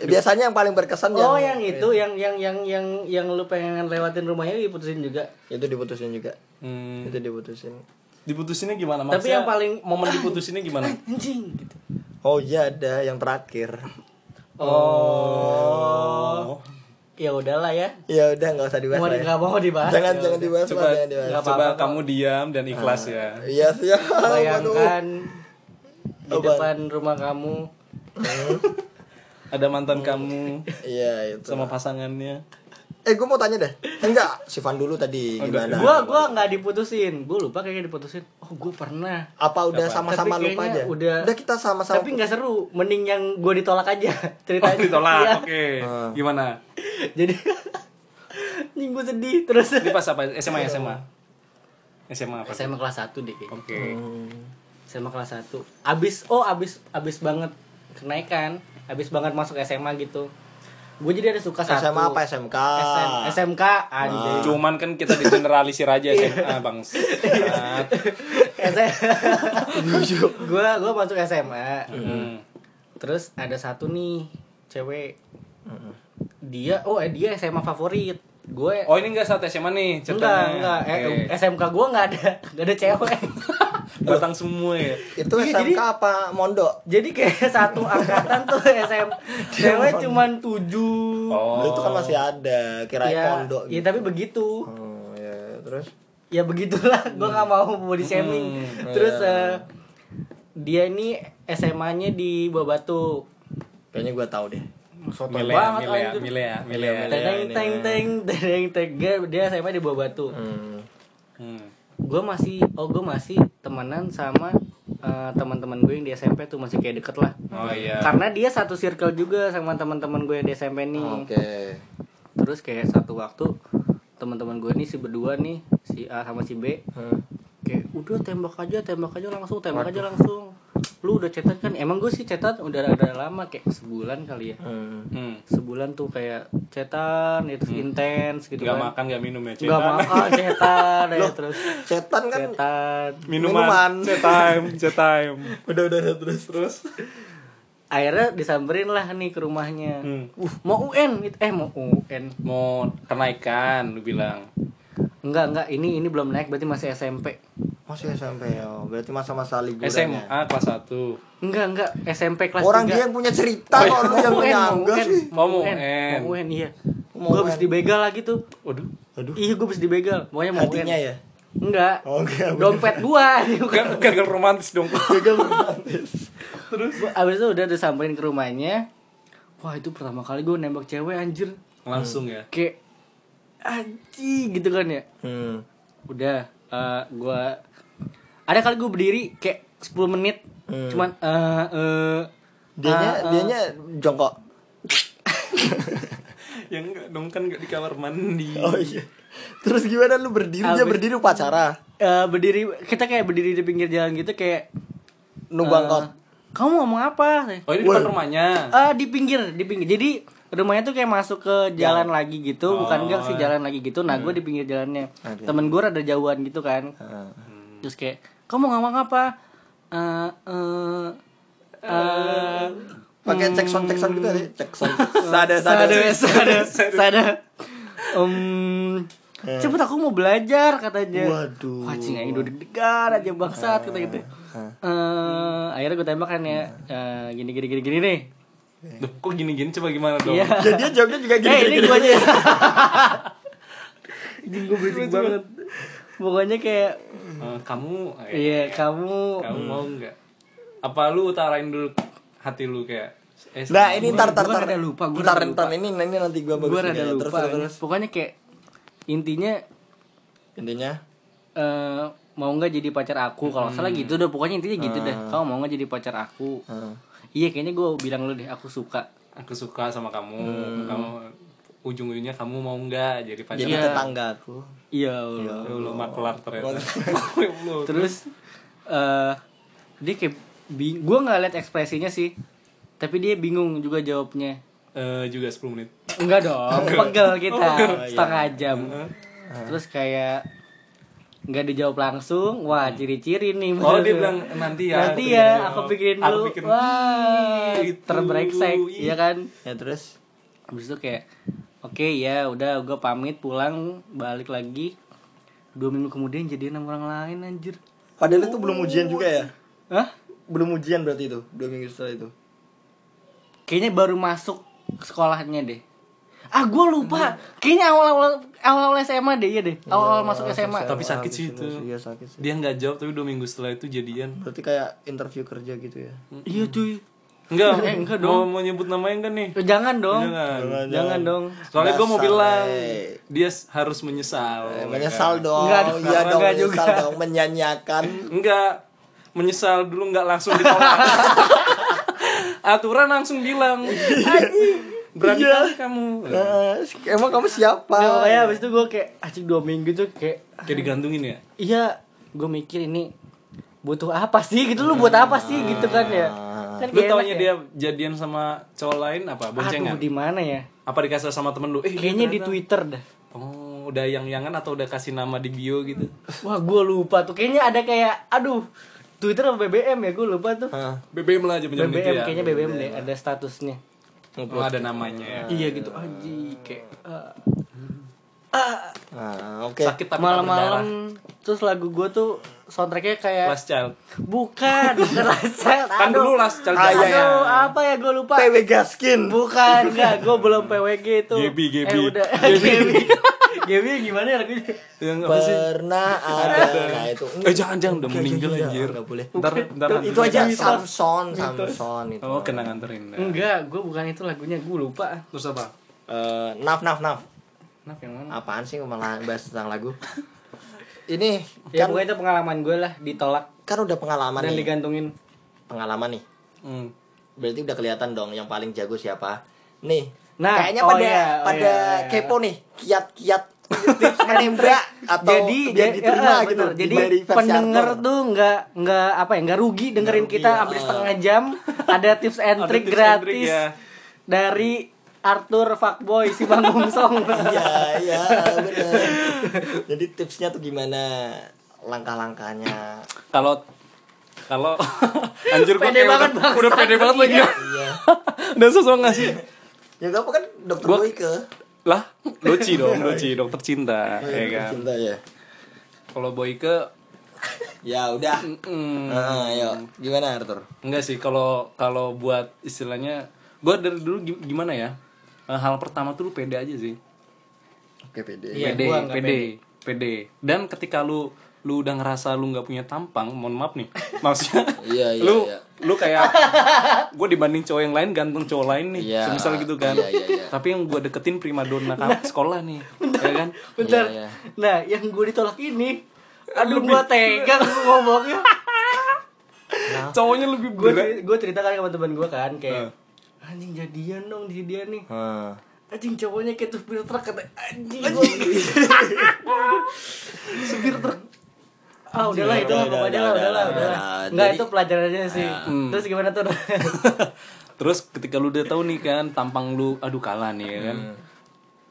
[SPEAKER 5] biasanya yang paling berkesan
[SPEAKER 4] oh yang itu yang yang yang yang yang lu pengen lewatin rumahnya diputusin juga
[SPEAKER 5] itu diputusin juga
[SPEAKER 3] hmm,
[SPEAKER 5] itu diputusin
[SPEAKER 3] Diputusinnya gimana?
[SPEAKER 4] Tapi yang paling-
[SPEAKER 3] Momen diputusinnya gimana?
[SPEAKER 4] anjing gitu
[SPEAKER 5] oh iya ada yang terakhir
[SPEAKER 4] oh ya udahlah ya
[SPEAKER 5] ya udah nggak usah dibahas
[SPEAKER 4] mau
[SPEAKER 5] lah
[SPEAKER 4] di
[SPEAKER 5] ya.
[SPEAKER 4] nggak mau dibahas
[SPEAKER 5] jangan
[SPEAKER 4] ya
[SPEAKER 5] jangan
[SPEAKER 4] udah.
[SPEAKER 5] dibahas lah
[SPEAKER 3] coba
[SPEAKER 5] jangan dibahas
[SPEAKER 4] Nggak
[SPEAKER 3] coba
[SPEAKER 4] apa-apa
[SPEAKER 3] kamu diam dan ikhlas ya
[SPEAKER 5] iya siap aduh
[SPEAKER 4] bayangkan di
[SPEAKER 5] Apaan?
[SPEAKER 4] depan rumah kamu
[SPEAKER 3] ada mantan kamu
[SPEAKER 5] iya itu
[SPEAKER 3] sama pasangannya
[SPEAKER 5] eh gua mau tanya deh enggak Sifan dulu tadi
[SPEAKER 3] Enggak.
[SPEAKER 5] gimana
[SPEAKER 4] gua gua nggak diputusin gua lupa kayaknya diputusin oh gua pernah
[SPEAKER 5] apa udah sama-sama
[SPEAKER 4] Tapi
[SPEAKER 5] lupa
[SPEAKER 4] kayaknya
[SPEAKER 5] aja
[SPEAKER 4] udah-
[SPEAKER 5] kita sama-sama
[SPEAKER 4] tapi nggak seru mending yang gua ditolak aja
[SPEAKER 3] oh,
[SPEAKER 4] ceritanya Iya.
[SPEAKER 3] ditolak oke Ah.
[SPEAKER 5] Hmm.
[SPEAKER 3] gimana
[SPEAKER 4] jadi anjing gue sedih terus
[SPEAKER 3] ini pas apa SMA SMA SMA apa
[SPEAKER 4] SMA kelas 1 deh kayaknya
[SPEAKER 3] oke
[SPEAKER 4] SMA kelas 1 abis oh abis abis banget kenaikan abis banget masuk SMA gitu gue jadi ada suka satu
[SPEAKER 5] SMA apa SMK
[SPEAKER 4] SM- SMK anjing
[SPEAKER 3] cuman kan kita digeneralisir aja SMA bang Iya. Ah.
[SPEAKER 4] gue gue masuk SMA
[SPEAKER 3] Hmm.
[SPEAKER 4] terus ada satu nih cewek dia oh eh, dia SMA favorit gue
[SPEAKER 3] oh ini enggak satu SMA nih
[SPEAKER 4] enggak
[SPEAKER 3] ceritanya
[SPEAKER 4] enggak eh,
[SPEAKER 3] Oke.
[SPEAKER 4] SMK gue nggak ada nggak ada cewek
[SPEAKER 3] batang semua ya
[SPEAKER 5] Itu
[SPEAKER 4] Iya, jadi-
[SPEAKER 5] SMK apa mondok?
[SPEAKER 4] Jadi kayak satu angkatan tuh SM cewek cuman tujuh.
[SPEAKER 3] Oh,
[SPEAKER 5] Dulu itu kan masih ada, kirain
[SPEAKER 4] ya,
[SPEAKER 5] mondok
[SPEAKER 4] ya
[SPEAKER 5] gitu.
[SPEAKER 4] tapi begitu.
[SPEAKER 5] Hmm, ya, terus
[SPEAKER 4] Ya begitulah, gua nggak mau body shaming. Terus eh, dia ini SMA-nya di Babatu.
[SPEAKER 5] kayaknya gua tahu deh.
[SPEAKER 4] Soto
[SPEAKER 3] milea
[SPEAKER 4] banget
[SPEAKER 3] milea
[SPEAKER 4] anjir. Iya,
[SPEAKER 3] milea
[SPEAKER 5] Milea,
[SPEAKER 3] milea
[SPEAKER 5] milea.
[SPEAKER 4] Teng
[SPEAKER 5] ini
[SPEAKER 4] teng
[SPEAKER 5] ya.
[SPEAKER 4] teng teng teng Dia- dia SMA di Babatu.
[SPEAKER 5] Hmm.
[SPEAKER 3] Hmm.
[SPEAKER 4] gue masih oh gue masih temenan sama eh, teman-teman gue yang di SMP tuh masih kayak deket lah
[SPEAKER 3] oh iya
[SPEAKER 5] Ya.
[SPEAKER 4] karena dia satu circle juga sama teman-teman gue yang di SMP nih
[SPEAKER 5] Oh, Oke.
[SPEAKER 4] terus kayak satu waktu teman-teman gue nih si berdua nih si A sama si B
[SPEAKER 5] Hmm.
[SPEAKER 4] kayak udah tembak aja tembak aja langsung tembak aja langsung lu udah cetan kan emang gue sih cetan udah ada lama kayak sebulan kali ya
[SPEAKER 5] Hmm.
[SPEAKER 3] Hmm.
[SPEAKER 4] sebulan tuh kayak cetan itu intens gitu
[SPEAKER 3] nggak
[SPEAKER 4] kan
[SPEAKER 3] makan nggak minum ya
[SPEAKER 4] nggak
[SPEAKER 3] cetan.
[SPEAKER 4] makan cetan ya
[SPEAKER 5] Loh,
[SPEAKER 4] terus
[SPEAKER 5] Setan kan
[SPEAKER 4] cetan
[SPEAKER 3] minuman,
[SPEAKER 5] Minuman.
[SPEAKER 3] Chat time chat time
[SPEAKER 5] udah udah terus terus.
[SPEAKER 4] akhirnya disamperin lah nih ke rumahnya
[SPEAKER 3] Hmm.
[SPEAKER 4] uh mau UN It- eh mau UN
[SPEAKER 3] mau kenaikan lu bilang
[SPEAKER 4] enggak enggak ini ini belum naik berarti masih SMP
[SPEAKER 5] Masih SMP ya. Berarti masa-masa liburan. ya.
[SPEAKER 3] SMA kelas 1
[SPEAKER 4] enggak enggak SMP kelas Oh, iya.
[SPEAKER 5] Orang
[SPEAKER 4] 3.
[SPEAKER 5] dia yang punya cerita kok lu yang
[SPEAKER 4] mau UN
[SPEAKER 5] menyanggah sih.
[SPEAKER 3] Mau
[SPEAKER 4] mau UN
[SPEAKER 3] UN.
[SPEAKER 4] mau UN iya
[SPEAKER 5] Mau
[SPEAKER 4] gue habis
[SPEAKER 5] UN.
[SPEAKER 4] dibegal lagi tuh
[SPEAKER 3] waduh
[SPEAKER 5] Aduh.
[SPEAKER 4] iya gue habis dibegal pokoknya mau
[SPEAKER 5] Hatinya
[SPEAKER 4] UN
[SPEAKER 5] ya.
[SPEAKER 4] enggak
[SPEAKER 5] Oh, enggak, bener.
[SPEAKER 4] dompet gua gitu kan.
[SPEAKER 3] gagal, gagal romantis dong
[SPEAKER 4] terus abis itu udah disamperin ke rumahnya wah itu pertama kali gue nembak cewek anjir
[SPEAKER 3] langsung ya
[SPEAKER 4] kayak anji gitu kan ya
[SPEAKER 5] Hmm.
[SPEAKER 4] udah eh, gua ada kali gue berdiri kayak 10 menit
[SPEAKER 5] Hmm.
[SPEAKER 4] cuman eh eh
[SPEAKER 5] Dianya
[SPEAKER 4] ah, ah.
[SPEAKER 5] dianya jongkok.
[SPEAKER 3] ya enggak dong kan enggak di kamar mandi
[SPEAKER 5] Oh iya. Terus gimana lu berdiri dia
[SPEAKER 4] Abis-
[SPEAKER 5] berdiri upacara.
[SPEAKER 4] eh, berdiri kita kayak berdiri di pinggir jalan gitu kayak
[SPEAKER 5] Nunggu angkot.
[SPEAKER 4] eh, kamu ngomong apa
[SPEAKER 3] oh ini depan
[SPEAKER 5] Wah.
[SPEAKER 3] rumahnya
[SPEAKER 4] Eh, di pinggir di pinggir jadi rumahnya tuh kayak masuk ke jalan lagi gitu bukan gang
[SPEAKER 5] Oh, iya.
[SPEAKER 4] sih jalan lagi gitu nah gue
[SPEAKER 5] Hmm.
[SPEAKER 4] di pinggir jalannya
[SPEAKER 5] Oke.
[SPEAKER 4] temen gue ada jauhan gitu kan
[SPEAKER 5] Heeh.
[SPEAKER 4] terus kayak kamu ngomong apa eh eh eh
[SPEAKER 5] Pakai cek sound cek sound gitu sih. Cek sound. Sada
[SPEAKER 4] Sade, sade, sade. Um, cepet aku mau belajar katanya.
[SPEAKER 5] Eh. Waduh.
[SPEAKER 4] Wah, cing aing udah deg-degan aja bangsat kata gitu. Eh, akhirnya gue tembak kan ya. Eh, gini gini gini gini nih.
[SPEAKER 3] Duh, kok gini-gini coba gimana dong
[SPEAKER 4] Eh. Iya.
[SPEAKER 5] Jadi Ya, dia jawabnya juga gini.
[SPEAKER 4] Eh,
[SPEAKER 5] gini,
[SPEAKER 4] ini
[SPEAKER 5] gini.
[SPEAKER 4] gue aja. Ini gue berisik banget. Pokoknya kayak
[SPEAKER 3] Eh, kamu eh,
[SPEAKER 4] iya kamu
[SPEAKER 3] kamu mau nggak apa lu utarain dulu hati lu kayak eh,
[SPEAKER 5] Nah, ini
[SPEAKER 4] Gua-
[SPEAKER 5] ntar tar
[SPEAKER 4] gua
[SPEAKER 5] tar.
[SPEAKER 4] rada lupa, gua
[SPEAKER 5] Ntar
[SPEAKER 4] rada
[SPEAKER 5] ntar
[SPEAKER 4] lupa.
[SPEAKER 5] ini ini nanti gua bagus.
[SPEAKER 4] gue rada
[SPEAKER 5] videonya. Terus,
[SPEAKER 4] lupa.
[SPEAKER 5] terus, terus.
[SPEAKER 4] Pokoknya kayak intinya
[SPEAKER 5] Intinya
[SPEAKER 4] eh mau nggak jadi pacar aku kalau nggak salah gitu udah pokoknya intinya
[SPEAKER 5] Eh.
[SPEAKER 4] gitu deh kamu mau nggak jadi pacar aku
[SPEAKER 5] Hmm.
[SPEAKER 4] iya kayaknya gue bilang lu deh aku suka
[SPEAKER 3] aku suka sama kamu kamu ujung-ujungnya kamu mau nggak jadi pacar
[SPEAKER 5] Mm. jadi ya.
[SPEAKER 4] Iya.
[SPEAKER 5] tetangga aku.
[SPEAKER 4] iya
[SPEAKER 5] Ya
[SPEAKER 4] Allah.
[SPEAKER 3] lu makelar ternyata Ya Allah.
[SPEAKER 4] terus eh dia kayak bing gue nggak liat ekspresinya sih tapi dia bingung juga jawabnya
[SPEAKER 3] Eh, juga 10 menit
[SPEAKER 4] enggak dong pegel kita
[SPEAKER 3] Oh, iya.
[SPEAKER 4] setengah jam terus kayak nggak dijawab langsung wah ciri-ciri nih
[SPEAKER 3] Hmm. Oh dia bilang nanti ya.
[SPEAKER 4] nanti ya aku pikirin
[SPEAKER 3] Aku
[SPEAKER 4] dulu
[SPEAKER 3] pikirin,
[SPEAKER 4] wah
[SPEAKER 3] "Ih, gitu,
[SPEAKER 4] terbrengsek
[SPEAKER 3] ih."
[SPEAKER 4] iya kan
[SPEAKER 5] Ya terus
[SPEAKER 4] Habis itu kayak oke ya udah gue pamit pulang balik lagi dua minggu kemudian jadian sama orang lain anjir
[SPEAKER 5] Padahal itu belum ujian juga ya?
[SPEAKER 4] Hah?
[SPEAKER 5] Belum ujian berarti itu, dua minggu setelah itu.
[SPEAKER 4] kayaknya baru masuk ke sekolahnya deh ah gue lupa kayaknya awal awal awal awal SMA deh iya deh awal awal
[SPEAKER 5] Oh,
[SPEAKER 4] masuk SMA
[SPEAKER 3] Tapi sakit sih
[SPEAKER 5] Habis
[SPEAKER 3] itu.
[SPEAKER 5] Iya sakit sih.
[SPEAKER 3] Dia nggak jawab tapi dua minggu setelah itu jadian.
[SPEAKER 5] Berarti kayak interview kerja gitu ya.
[SPEAKER 3] Hmm.
[SPEAKER 4] iya cuy
[SPEAKER 3] Enggak,
[SPEAKER 4] Eh, enggak
[SPEAKER 3] dong. Mau, mau nyebut namanya enggak nih?
[SPEAKER 4] Eh, jangan dong
[SPEAKER 3] Jangan.
[SPEAKER 4] jangan, dong
[SPEAKER 3] Soalnya gue mau
[SPEAKER 5] Dasar,
[SPEAKER 3] bilang
[SPEAKER 5] eh.
[SPEAKER 3] dia s- harus menyesal. ya kan?
[SPEAKER 5] Eh, menyesal dong.
[SPEAKER 4] Enggak dong,
[SPEAKER 5] Iya dong,
[SPEAKER 4] enggak
[SPEAKER 5] menyesal
[SPEAKER 4] juga.
[SPEAKER 5] dong menyanyiakan.
[SPEAKER 3] Enggak. Menyesal dulu nggak langsung ditolak. Aturan langsung bilang. Berani
[SPEAKER 4] Iya.
[SPEAKER 3] kali kamu.
[SPEAKER 5] Eh, emang kamu siapa?
[SPEAKER 4] Udah, pokoknya habis ya, itu gue kayak acik dua minggu tuh kayak
[SPEAKER 3] Kayak digantungin ya.
[SPEAKER 4] iya gue mikir ini butuh apa sih gitu lu buat apa sih gitu kan ya kan
[SPEAKER 3] Ah. Lu
[SPEAKER 4] kayak
[SPEAKER 3] taunya
[SPEAKER 4] enak
[SPEAKER 3] dia jadian sama cowok lain apa?
[SPEAKER 4] aduh
[SPEAKER 3] Boncengan.
[SPEAKER 4] di mana ya
[SPEAKER 3] Apa dikasih sama temen lu? Eh, dia
[SPEAKER 4] kayaknya di
[SPEAKER 3] ternyata-
[SPEAKER 4] Twitter dah
[SPEAKER 3] Oh, udah yang-yangan atau udah kasih nama di bio gitu?
[SPEAKER 4] wah gue lupa tuh kayaknya ada kayak aduh Twitter atau BBM ya gue lupa tuh
[SPEAKER 5] Hah,
[SPEAKER 3] BBM lah jam-jam Ah, gitu
[SPEAKER 4] BBM
[SPEAKER 3] ya.
[SPEAKER 4] kayaknya BBM deh ada statusnya
[SPEAKER 3] Oh, ada namanya.
[SPEAKER 4] iya gitu aji kayak eh,
[SPEAKER 5] Ah, oke.
[SPEAKER 3] Sakit tapi tak berdarah.
[SPEAKER 4] malam-malam terus lagu gue tuh soundtracknya kayak
[SPEAKER 3] Last Child.
[SPEAKER 4] bukan bukan Last Child
[SPEAKER 3] Kan
[SPEAKER 4] aduh.
[SPEAKER 3] dulu Last Child.
[SPEAKER 5] Ah, iya, iya.
[SPEAKER 4] aduh apa ya gue lupa
[SPEAKER 5] PW Gaskin.
[SPEAKER 4] bukan enggak gue belum PWG itu
[SPEAKER 3] GB, GB.
[SPEAKER 4] eh udah
[SPEAKER 3] GB.
[SPEAKER 4] GB GB gimana ya lagunya
[SPEAKER 3] Yang apa sih?
[SPEAKER 5] Pernah ada. Nah, itu.
[SPEAKER 3] Eh jangan jangan udah meninggal
[SPEAKER 5] Enggak,
[SPEAKER 3] anjir.
[SPEAKER 5] enggak boleh.
[SPEAKER 3] Ntar ntar
[SPEAKER 5] Itu, itu aja
[SPEAKER 3] nanti-
[SPEAKER 5] Samson, Samson itu.
[SPEAKER 3] Oh, kenangan terindah.
[SPEAKER 4] enggak gue bukan itu lagunya gue lupa
[SPEAKER 3] Terus apa?
[SPEAKER 5] Eh, naf naf naf.
[SPEAKER 3] Kenapa
[SPEAKER 4] ya,
[SPEAKER 3] yang mana?
[SPEAKER 5] Apaan sih malah bahas tentang lagu? Ini
[SPEAKER 4] ya
[SPEAKER 5] kan
[SPEAKER 4] pokoknya itu pengalaman gue lah ditolak
[SPEAKER 5] kan udah pengalaman
[SPEAKER 4] dan
[SPEAKER 5] nih.
[SPEAKER 4] digantungin
[SPEAKER 5] Pengalaman nih.
[SPEAKER 3] Hmm.
[SPEAKER 5] Berarti udah kelihatan dong yang paling jago siapa. Nih.
[SPEAKER 4] Nah,
[SPEAKER 5] kayaknya
[SPEAKER 4] oh
[SPEAKER 5] pada
[SPEAKER 4] iya, oh
[SPEAKER 5] pada
[SPEAKER 4] iya, iya.
[SPEAKER 5] kepo nih kiat-kiat menembak atau
[SPEAKER 4] jadi
[SPEAKER 5] biar
[SPEAKER 4] jadi-
[SPEAKER 5] diterima
[SPEAKER 4] eh,
[SPEAKER 5] gitu.
[SPEAKER 4] bener. jadi
[SPEAKER 5] dari versi
[SPEAKER 4] pendengar
[SPEAKER 5] Arthur.
[SPEAKER 4] tuh nggak nggak apa ya nggak rugi dengerin
[SPEAKER 5] Nggak rugi,
[SPEAKER 4] kita
[SPEAKER 5] ya.
[SPEAKER 4] hampir setengah jam ada tips and
[SPEAKER 3] Ada
[SPEAKER 4] trick
[SPEAKER 3] tips and
[SPEAKER 4] gratis
[SPEAKER 3] trick, ya.
[SPEAKER 4] dari Arthur Fuckboy si Bang Bongsong
[SPEAKER 5] Iya, iya, benar. Jadi tipsnya tuh gimana langkah-langkahnya?
[SPEAKER 3] Kalau kalau anjir gua
[SPEAKER 4] Pede
[SPEAKER 3] kayak
[SPEAKER 4] banget,
[SPEAKER 3] udah,
[SPEAKER 4] Bang.
[SPEAKER 3] udah pede banget lagi ya.
[SPEAKER 5] Iya.
[SPEAKER 3] Udah sosok ngasih.
[SPEAKER 5] Ya kamu kan dokter
[SPEAKER 3] Gua-
[SPEAKER 5] Boy ke
[SPEAKER 3] Lah, Doci dong, Doci, dokter cinta,
[SPEAKER 4] Iya.
[SPEAKER 3] ya kan.
[SPEAKER 5] Cinta ya.
[SPEAKER 3] Kalau Boyke
[SPEAKER 5] Ya udah.
[SPEAKER 3] mm,
[SPEAKER 5] Heeh, ayo. Gimana Arthur?
[SPEAKER 3] Enggak sih kalau kalau buat istilahnya gue dari dulu gi- gimana ya Eh, hal pertama tuh lu pede aja sih
[SPEAKER 5] Oke, pede.
[SPEAKER 4] Iya,
[SPEAKER 3] pede
[SPEAKER 4] gua nggak
[SPEAKER 3] pede pede dan ketika lu lu udah ngerasa lu nggak punya tampang mohon maaf nih maksudnya
[SPEAKER 5] Iya, iya,
[SPEAKER 3] lu
[SPEAKER 5] iya.
[SPEAKER 3] lu kayak gue dibanding cowok yang lain ganteng cowok lain nih
[SPEAKER 5] Iya,
[SPEAKER 3] semisal gitu kan
[SPEAKER 5] iya, iya, iya.
[SPEAKER 3] tapi yang gue deketin primadona kan sekolah nih ya kan
[SPEAKER 4] bentar
[SPEAKER 5] Iya, iya.
[SPEAKER 4] nah yang gue ditolak ini aduh gue tegang gua ngomongnya
[SPEAKER 3] cowoknya lebih
[SPEAKER 4] gue
[SPEAKER 3] berat
[SPEAKER 4] gue ceritakan sama teman gue kan kayak anjing jadian dong di dia nih
[SPEAKER 5] Heeh.
[SPEAKER 4] anjing cowoknya kayak supir truk kata anjing gua supir truk ah udahlah itu
[SPEAKER 5] udah,
[SPEAKER 4] apa udahlah
[SPEAKER 5] udah, udah,
[SPEAKER 4] udahlah
[SPEAKER 5] udah.
[SPEAKER 4] udahlah
[SPEAKER 5] Nah,
[SPEAKER 4] nggak
[SPEAKER 5] jadi-
[SPEAKER 4] itu pelajarannya sih terus gimana tuh
[SPEAKER 3] Terus ketika lu udah tahu nih kan tampang lu aduh kalah nih ya kan.
[SPEAKER 5] Hmm.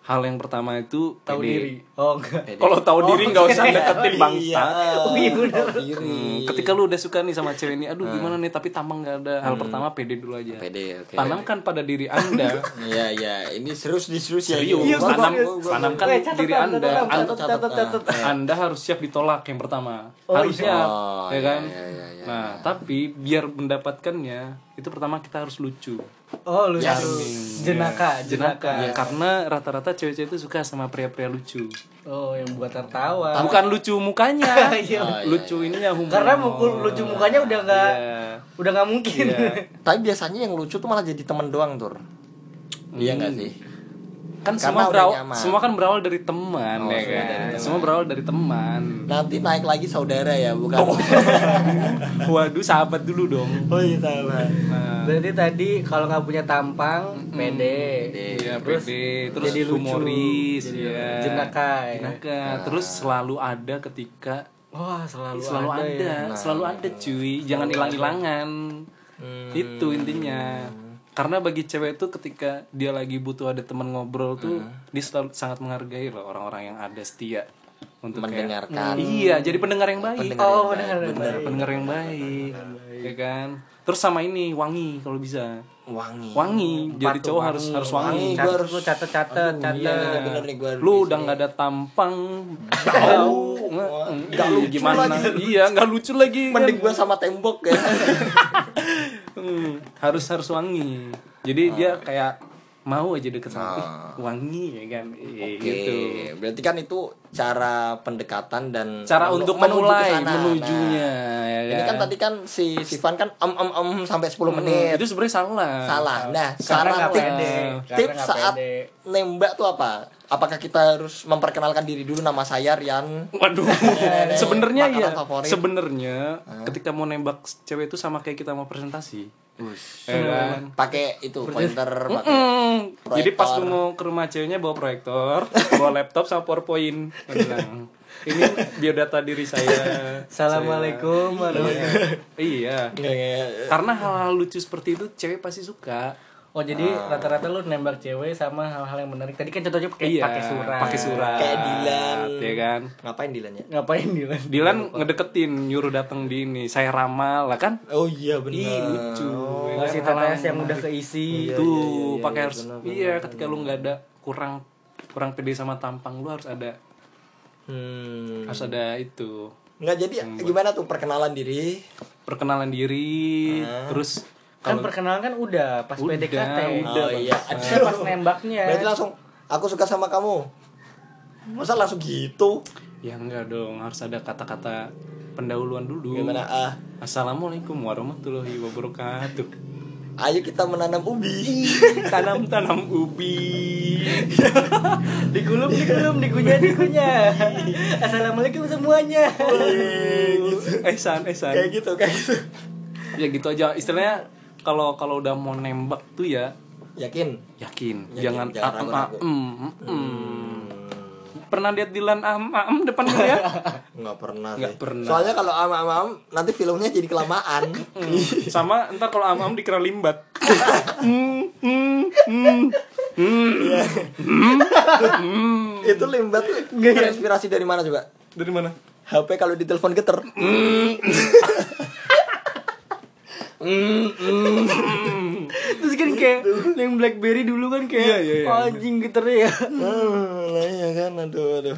[SPEAKER 3] Hal yang pertama itu
[SPEAKER 4] tahu
[SPEAKER 3] pede.
[SPEAKER 4] diri oh enggak
[SPEAKER 3] Kalau tahu diri nggak usah
[SPEAKER 5] Iya,
[SPEAKER 3] deketin bangsa.
[SPEAKER 5] Oh,
[SPEAKER 4] iya, bener.
[SPEAKER 5] diri.
[SPEAKER 3] Ketika lu udah suka nih sama cewek ini, aduh gimana nih tapi tampang nggak ada. Hal pertama pede dulu aja.
[SPEAKER 5] Hmm. Pede, oke.
[SPEAKER 3] Tanamkan pada diri Anda.
[SPEAKER 5] Iya, iya. Ini serius di serius ya.
[SPEAKER 3] Serius,
[SPEAKER 5] Gua-
[SPEAKER 3] tanam-
[SPEAKER 5] gua- gua- gua-
[SPEAKER 3] tanamkan
[SPEAKER 4] Iya, Eh, catat,
[SPEAKER 3] diri
[SPEAKER 4] catat,
[SPEAKER 3] Anda. ah.
[SPEAKER 4] catat,
[SPEAKER 3] Anda-
[SPEAKER 4] catat, catat, catat.
[SPEAKER 3] Eh, Anda harus siap ditolak yang pertama.
[SPEAKER 4] Oh,
[SPEAKER 3] harus
[SPEAKER 4] iya.
[SPEAKER 3] siap,
[SPEAKER 5] Oh,
[SPEAKER 3] ya
[SPEAKER 5] iya,
[SPEAKER 3] kan?
[SPEAKER 5] iya, iya, iya.
[SPEAKER 3] Nah, tapi biar mendapatkannya itu pertama kita harus lucu.
[SPEAKER 4] oh lu tuh. jenaka jenaka
[SPEAKER 3] Jenaka. iya. Karena rata-rata cewek-cewek itu suka sama pria-pria lucu.
[SPEAKER 4] oh yang buat tertawa
[SPEAKER 3] Bukan lucu mukanya.
[SPEAKER 4] Iya.
[SPEAKER 5] Oh, iya,
[SPEAKER 3] lucu ininya humor.
[SPEAKER 4] karena mukul lucu mukanya udah nggak udah nggak mungkin
[SPEAKER 3] Iya.
[SPEAKER 5] Tapi biasanya yang lucu tuh malah jadi teman doang, Tur. Iya enggak sih?
[SPEAKER 3] Kan
[SPEAKER 5] Karena
[SPEAKER 3] semua
[SPEAKER 5] udah
[SPEAKER 3] berawal
[SPEAKER 5] nyaman. Oh, iya,
[SPEAKER 3] semua kan berawal dari teman ya kan. Semua berawal dari teman.
[SPEAKER 5] Nanti naik lagi saudara ya, bukan. Oh,
[SPEAKER 3] Waduh, sahabat dulu dong.
[SPEAKER 5] iya, tahu.
[SPEAKER 3] Nah,
[SPEAKER 4] berarti tadi kalau nggak punya tampang pede
[SPEAKER 3] Iya, pede, terus
[SPEAKER 4] Nah, jadi lucu.
[SPEAKER 3] humoris,
[SPEAKER 4] Jadi
[SPEAKER 3] ya.
[SPEAKER 4] jenaka, ya.
[SPEAKER 3] Jenaka. Terus
[SPEAKER 5] Nah.
[SPEAKER 3] selalu ada ketika
[SPEAKER 4] wah selalu,
[SPEAKER 3] selalu ada,
[SPEAKER 4] ya.
[SPEAKER 3] selalu ada cuy. Jangan hilang-hilangan. Itu intinya. Karena bagi cewek itu ketika dia lagi butuh ada teman ngobrol tuh dia selalu sangat menghargai loh orang-orang yang ada setia untuk kayak-
[SPEAKER 5] Mendengarkan.
[SPEAKER 3] Iya, jadi pendengar yang baik.
[SPEAKER 4] oh benar
[SPEAKER 3] Bener, pendengar yang baik. Ya kan? Terus sama ini wangi kalau bisa.
[SPEAKER 5] Wangi.
[SPEAKER 3] Wangi, jadi cowok harus harus wangi.
[SPEAKER 5] Hmm. Wangi,
[SPEAKER 4] Catet,
[SPEAKER 5] gua harus
[SPEAKER 4] lu catet catet
[SPEAKER 5] Iya,
[SPEAKER 4] catet
[SPEAKER 5] ini bener nih gua. harus
[SPEAKER 3] lu
[SPEAKER 5] di
[SPEAKER 3] udah
[SPEAKER 5] sini.
[SPEAKER 3] nggak ada tampang bau nge- iya, gimana iya nggak lucu lagi kan?
[SPEAKER 5] mending gua sama tembok ya.
[SPEAKER 3] Hmm, harus harus wangi jadi
[SPEAKER 5] Ah.
[SPEAKER 3] dia kayak mau aja deket sama ih, wangi ya kan Eh,
[SPEAKER 5] Oke,
[SPEAKER 3] gitu
[SPEAKER 5] berarti kan itu cara pendekatan dan
[SPEAKER 3] cara
[SPEAKER 5] menu-
[SPEAKER 3] untuk
[SPEAKER 5] menuju ke
[SPEAKER 3] memulai
[SPEAKER 5] sana. Nah,
[SPEAKER 3] menujunya ya
[SPEAKER 5] ini kan tadi kan si Sivan kan em em em sampai 10 menit.
[SPEAKER 3] Hmm. itu sebenarnya salah
[SPEAKER 5] salah. Nah,
[SPEAKER 4] Eh, Karena
[SPEAKER 5] saran
[SPEAKER 4] nggak
[SPEAKER 5] tip,
[SPEAKER 4] pede. Karena
[SPEAKER 5] tip
[SPEAKER 4] nggak
[SPEAKER 5] saat
[SPEAKER 4] pede.
[SPEAKER 5] nembak tuh apa? Apakah kita harus memperkenalkan diri dulu nama saya Rian?
[SPEAKER 3] Waduh, sebenarnya
[SPEAKER 5] Makanan
[SPEAKER 3] ya,
[SPEAKER 5] favorit. Ah.
[SPEAKER 3] sebenarnya ketika mau nembak cewek itu sama kayak kita mau presentasi, ya kan?
[SPEAKER 5] Pakai itu pointer, pakai
[SPEAKER 3] Hmm, jadi pas
[SPEAKER 5] Proyektor.
[SPEAKER 3] lu mau ke rumah ceweknya bawa proyektor, bawa laptop sama powerpoint. Gua bilang, Ini biodata diri saya.
[SPEAKER 4] assalamualaikum warahmatullahi
[SPEAKER 3] Iya. Karena hal-hal lucu seperti itu cewek pasti suka.
[SPEAKER 4] oh jadi
[SPEAKER 3] Ah.
[SPEAKER 4] rata-rata lu nembak cewek sama hal-hal yang menarik tadi kan contohnya pakai
[SPEAKER 3] Iya.
[SPEAKER 4] pakai surat
[SPEAKER 3] Pakai surat.
[SPEAKER 5] Kayak Dilan.
[SPEAKER 3] ya kan?
[SPEAKER 5] ngapain Dilannya?
[SPEAKER 4] ngapain Dilan
[SPEAKER 3] Dilan ngedeketin nyuruh datang di ini. Saya ramal lah kan?
[SPEAKER 5] Oh iya Iya, benar.
[SPEAKER 3] Ih, lucu. ya
[SPEAKER 4] ngasih
[SPEAKER 3] kan? Hal-hal
[SPEAKER 4] TTS yang udah keisi
[SPEAKER 3] iya,
[SPEAKER 4] iya.
[SPEAKER 3] Tuh, pakai harus iya ketika lu nggak ada kurang kurang pede sama tampang lu harus ada
[SPEAKER 5] Hmm.
[SPEAKER 3] harus ada itu
[SPEAKER 5] Nggak jadi
[SPEAKER 4] Hmm.
[SPEAKER 5] gimana tuh perkenalan diri?
[SPEAKER 3] perkenalan diri
[SPEAKER 5] Ah.
[SPEAKER 3] terus
[SPEAKER 4] kan perkenalan kan udah pas
[SPEAKER 3] Udah,
[SPEAKER 4] PDKT
[SPEAKER 3] udah.
[SPEAKER 5] oh iya.
[SPEAKER 4] Kan pas nembaknya
[SPEAKER 5] Berarti langsung aku suka sama kamu. Masa langsung gitu?
[SPEAKER 3] ya enggak dong harus ada kata-kata pendahuluan dulu
[SPEAKER 5] Gimana?
[SPEAKER 4] Hmm.
[SPEAKER 5] Ah,
[SPEAKER 3] assalamualaikum warahmatullahi wabarakatuh
[SPEAKER 5] ayo kita menanam ubi.
[SPEAKER 3] tanam tanam ubi
[SPEAKER 4] digulung digulung digunyah digunyah assalamualaikum semuanya
[SPEAKER 3] Oh,
[SPEAKER 4] Iya, gitu
[SPEAKER 3] eh san
[SPEAKER 4] kan.
[SPEAKER 3] eh san
[SPEAKER 5] kayak gitu, kayak gitu.
[SPEAKER 3] ya gitu aja istilahnya kalau kalau udah mau nembak tuh ya
[SPEAKER 5] Yakin?
[SPEAKER 3] yakin,
[SPEAKER 5] Yakin,
[SPEAKER 3] jangan am
[SPEAKER 5] jangan ragu-ragu.
[SPEAKER 3] am am. mm.
[SPEAKER 5] Hmm.
[SPEAKER 3] pernah lihat Dilan am am depan ya? dia
[SPEAKER 5] Nggak pernah
[SPEAKER 3] Nggak
[SPEAKER 5] sih.
[SPEAKER 3] pernah.
[SPEAKER 5] Soalnya kalau am-am nanti filmnya jadi kelamaan.
[SPEAKER 3] Hmm. sama ntar kalau am am dikira limbat
[SPEAKER 5] Itu limbat
[SPEAKER 3] iya.
[SPEAKER 5] inspirasi dari mana coba?
[SPEAKER 3] dari mana
[SPEAKER 5] HP kalau ditelepon geter.
[SPEAKER 3] Hmm.
[SPEAKER 4] terus kan kayak yang blackberry dulu kan kayak
[SPEAKER 3] Iya, iya, iya.
[SPEAKER 4] anjing geter ya
[SPEAKER 5] Hmm, lah iya kan, aduh aduh.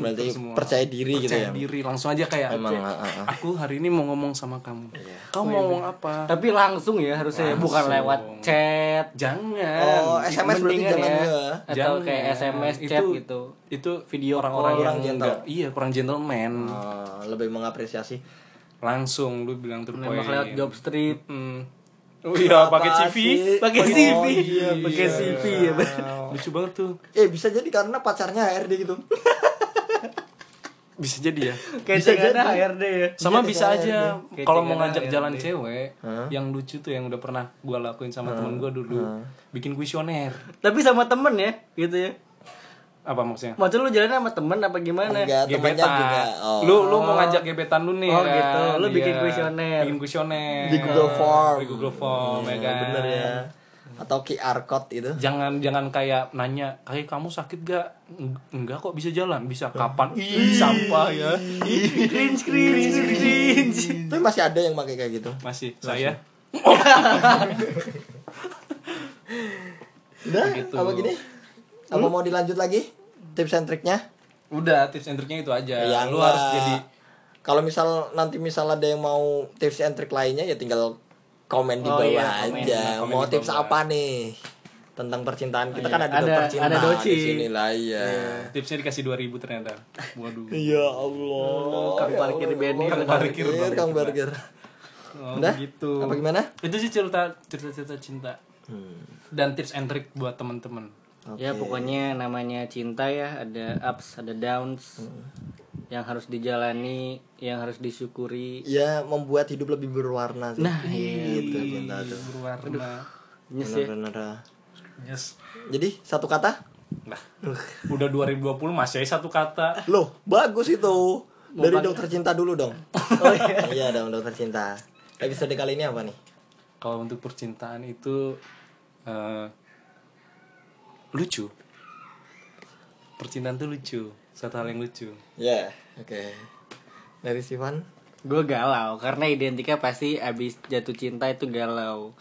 [SPEAKER 5] Berarti percaya diri
[SPEAKER 3] Hmm,
[SPEAKER 5] gitu
[SPEAKER 3] percaya
[SPEAKER 5] ya.
[SPEAKER 3] diri langsung aja kayak
[SPEAKER 5] Emang, ah, ah, Iya. ah.
[SPEAKER 3] aku hari ini mau ngomong sama kamu kamu mau ngomong apa
[SPEAKER 4] tapi Oh, iya, langsung ya harusnya bukan lewat chat
[SPEAKER 3] jangan
[SPEAKER 5] Oh, SMS berarti
[SPEAKER 4] Mendingan
[SPEAKER 5] jangan
[SPEAKER 4] ya.
[SPEAKER 5] ya.
[SPEAKER 4] atau
[SPEAKER 3] Jangan.
[SPEAKER 4] kayak SMS chat
[SPEAKER 3] Itu-
[SPEAKER 4] gitu
[SPEAKER 3] itu video orang-orang
[SPEAKER 5] call.
[SPEAKER 3] yang
[SPEAKER 5] Kurang
[SPEAKER 3] enggak iya kurang gentleman
[SPEAKER 5] Oh, lebih mengapresiasi.
[SPEAKER 3] langsung lu bilang tuh
[SPEAKER 4] nembak lewat job street Hmm.
[SPEAKER 3] oh iya pakai
[SPEAKER 5] Apa
[SPEAKER 3] CV
[SPEAKER 5] sih?
[SPEAKER 4] pakai
[SPEAKER 5] Oh,
[SPEAKER 4] CV
[SPEAKER 5] iya,
[SPEAKER 4] pakai
[SPEAKER 5] iya.
[SPEAKER 4] CV ya Bang.
[SPEAKER 3] lucu banget tuh
[SPEAKER 5] Eh bisa jadi karena pacarnya HRD gitu.
[SPEAKER 3] bisa jadi ya
[SPEAKER 4] kayak
[SPEAKER 5] Bisa
[SPEAKER 4] ada
[SPEAKER 5] jadi.
[SPEAKER 4] HRD ya
[SPEAKER 3] sama
[SPEAKER 5] Iya,
[SPEAKER 3] bisa
[SPEAKER 5] kayak
[SPEAKER 3] aja
[SPEAKER 4] Kayak
[SPEAKER 3] kalau mau
[SPEAKER 4] cegana
[SPEAKER 3] ngajak
[SPEAKER 4] HRD.
[SPEAKER 3] jalan cewek yang lucu tuh yang udah pernah gua lakuin sama temen gua dulu bikin kuesioner
[SPEAKER 4] tapi sama temen ya gitu ya
[SPEAKER 3] apa maksudnya
[SPEAKER 4] maksud lu jalan sama temen apa gimana
[SPEAKER 5] Enggak, temannya
[SPEAKER 3] gebetan
[SPEAKER 5] juga. Oh.
[SPEAKER 3] lu lu mau ngajak gebetan lu nih
[SPEAKER 4] Oh,
[SPEAKER 3] kan?
[SPEAKER 4] gitu. Lu bikin
[SPEAKER 3] Iya.
[SPEAKER 4] kuesioner.
[SPEAKER 3] bikin kuesioner
[SPEAKER 5] Di Google Form.
[SPEAKER 3] di Google Form ya kan
[SPEAKER 5] bener ya. Atau QR code gitu. itu.
[SPEAKER 3] jangan jangan kayak nanya kaki kamu sakit gak "Eng- enggak kok bisa jalan
[SPEAKER 5] Iya.
[SPEAKER 3] bisa kapan ih sampah ya Ih, cringe cringe cringe
[SPEAKER 5] Tapi masih ada yang pakai kayak gitu.
[SPEAKER 3] masih saya
[SPEAKER 5] Udah, apa gini? Apa mau dilanjut lagi? Tips and triknya?
[SPEAKER 3] udah tips and triknya itu aja
[SPEAKER 5] Ya,
[SPEAKER 3] lu
[SPEAKER 5] enggak.
[SPEAKER 3] harus jadi
[SPEAKER 5] kalau misal nanti misal ada yang mau tips and trik lainnya ya tinggal komen di
[SPEAKER 4] Oh,
[SPEAKER 5] bawah
[SPEAKER 4] iya, komen.
[SPEAKER 5] aja.
[SPEAKER 3] Komen
[SPEAKER 5] mau
[SPEAKER 3] di
[SPEAKER 5] tips
[SPEAKER 3] bawah.
[SPEAKER 5] apa nih? Tentang percintaan. Kita kan ada,
[SPEAKER 4] Ada-
[SPEAKER 5] dokter cinta
[SPEAKER 4] ada doci.
[SPEAKER 5] di sini lah ya.
[SPEAKER 3] tipsnya dikasih 2000 ternyata waduh
[SPEAKER 5] Ya Allah.
[SPEAKER 4] Kang parkir Benny.
[SPEAKER 5] Kang parkir. Kang parkir.
[SPEAKER 3] oh,
[SPEAKER 5] Udah?
[SPEAKER 3] gitu
[SPEAKER 5] Apa gimana? Hmm.
[SPEAKER 3] itu sih cerita cerita cerita cinta dan tips and trik buat temen-temen
[SPEAKER 4] Ya pokoknya namanya cinta ya ada ups ada downs yang harus dijalani yang harus disyukuri.
[SPEAKER 5] Ya membuat hidup lebih berwarna sih.
[SPEAKER 4] Nah iya
[SPEAKER 5] gitu cinta tuh.
[SPEAKER 3] berwarna
[SPEAKER 4] nyes ya.
[SPEAKER 5] Bener-bener. ah.
[SPEAKER 3] yes
[SPEAKER 5] Jadi satu kata?
[SPEAKER 3] nah udah 2020 masih aja satu kata
[SPEAKER 5] Loh, bagus itu. Dari dokter cinta dulu dong. Oh iya. iya dong dokter cinta. Episode kali ini apa nih?
[SPEAKER 3] kalau untuk percintaan itu eh, lucu percintaan tuh lucu satu hal yang lucu
[SPEAKER 5] Ya, oke. Dari Sivan?
[SPEAKER 4] Gue galau karena identiknya pasti abis jatuh cinta itu galau.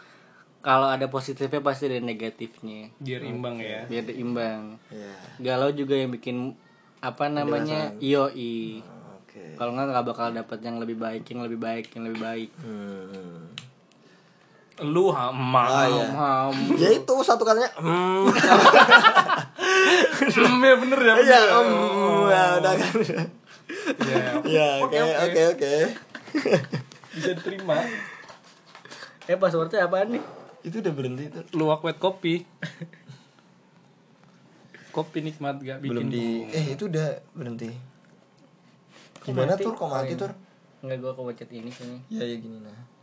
[SPEAKER 4] Kalau ada positifnya pasti ada negatifnya
[SPEAKER 3] biar imbang ya
[SPEAKER 4] biar imbang.
[SPEAKER 5] Ya,
[SPEAKER 4] Galau juga yang bikin apa namanya ioi.
[SPEAKER 5] oke.
[SPEAKER 4] Kalau nggak nggak bakal dapet yang lebih baik yang lebih baik yang lebih baik.
[SPEAKER 5] Hmm.
[SPEAKER 3] lu hama
[SPEAKER 5] iya.
[SPEAKER 4] Mau
[SPEAKER 5] Ya itu satu katanya. Hmm.
[SPEAKER 3] ya bener ya
[SPEAKER 5] Iya, hmm. Ya, udah kan.
[SPEAKER 3] Ya,
[SPEAKER 5] Ya, oke, oke, oke.
[SPEAKER 3] bisa diterima
[SPEAKER 4] eh passwordnya apaan nih?
[SPEAKER 5] Itu udah berhenti itu.
[SPEAKER 3] luwak wet kopi kopi nikmat gak bikin
[SPEAKER 5] Belum di Eh, itu udah berhenti. Gimana tur kok mati tur? iya.
[SPEAKER 4] Nggak gue kebocet ini sini.
[SPEAKER 5] Ya ya gini nah.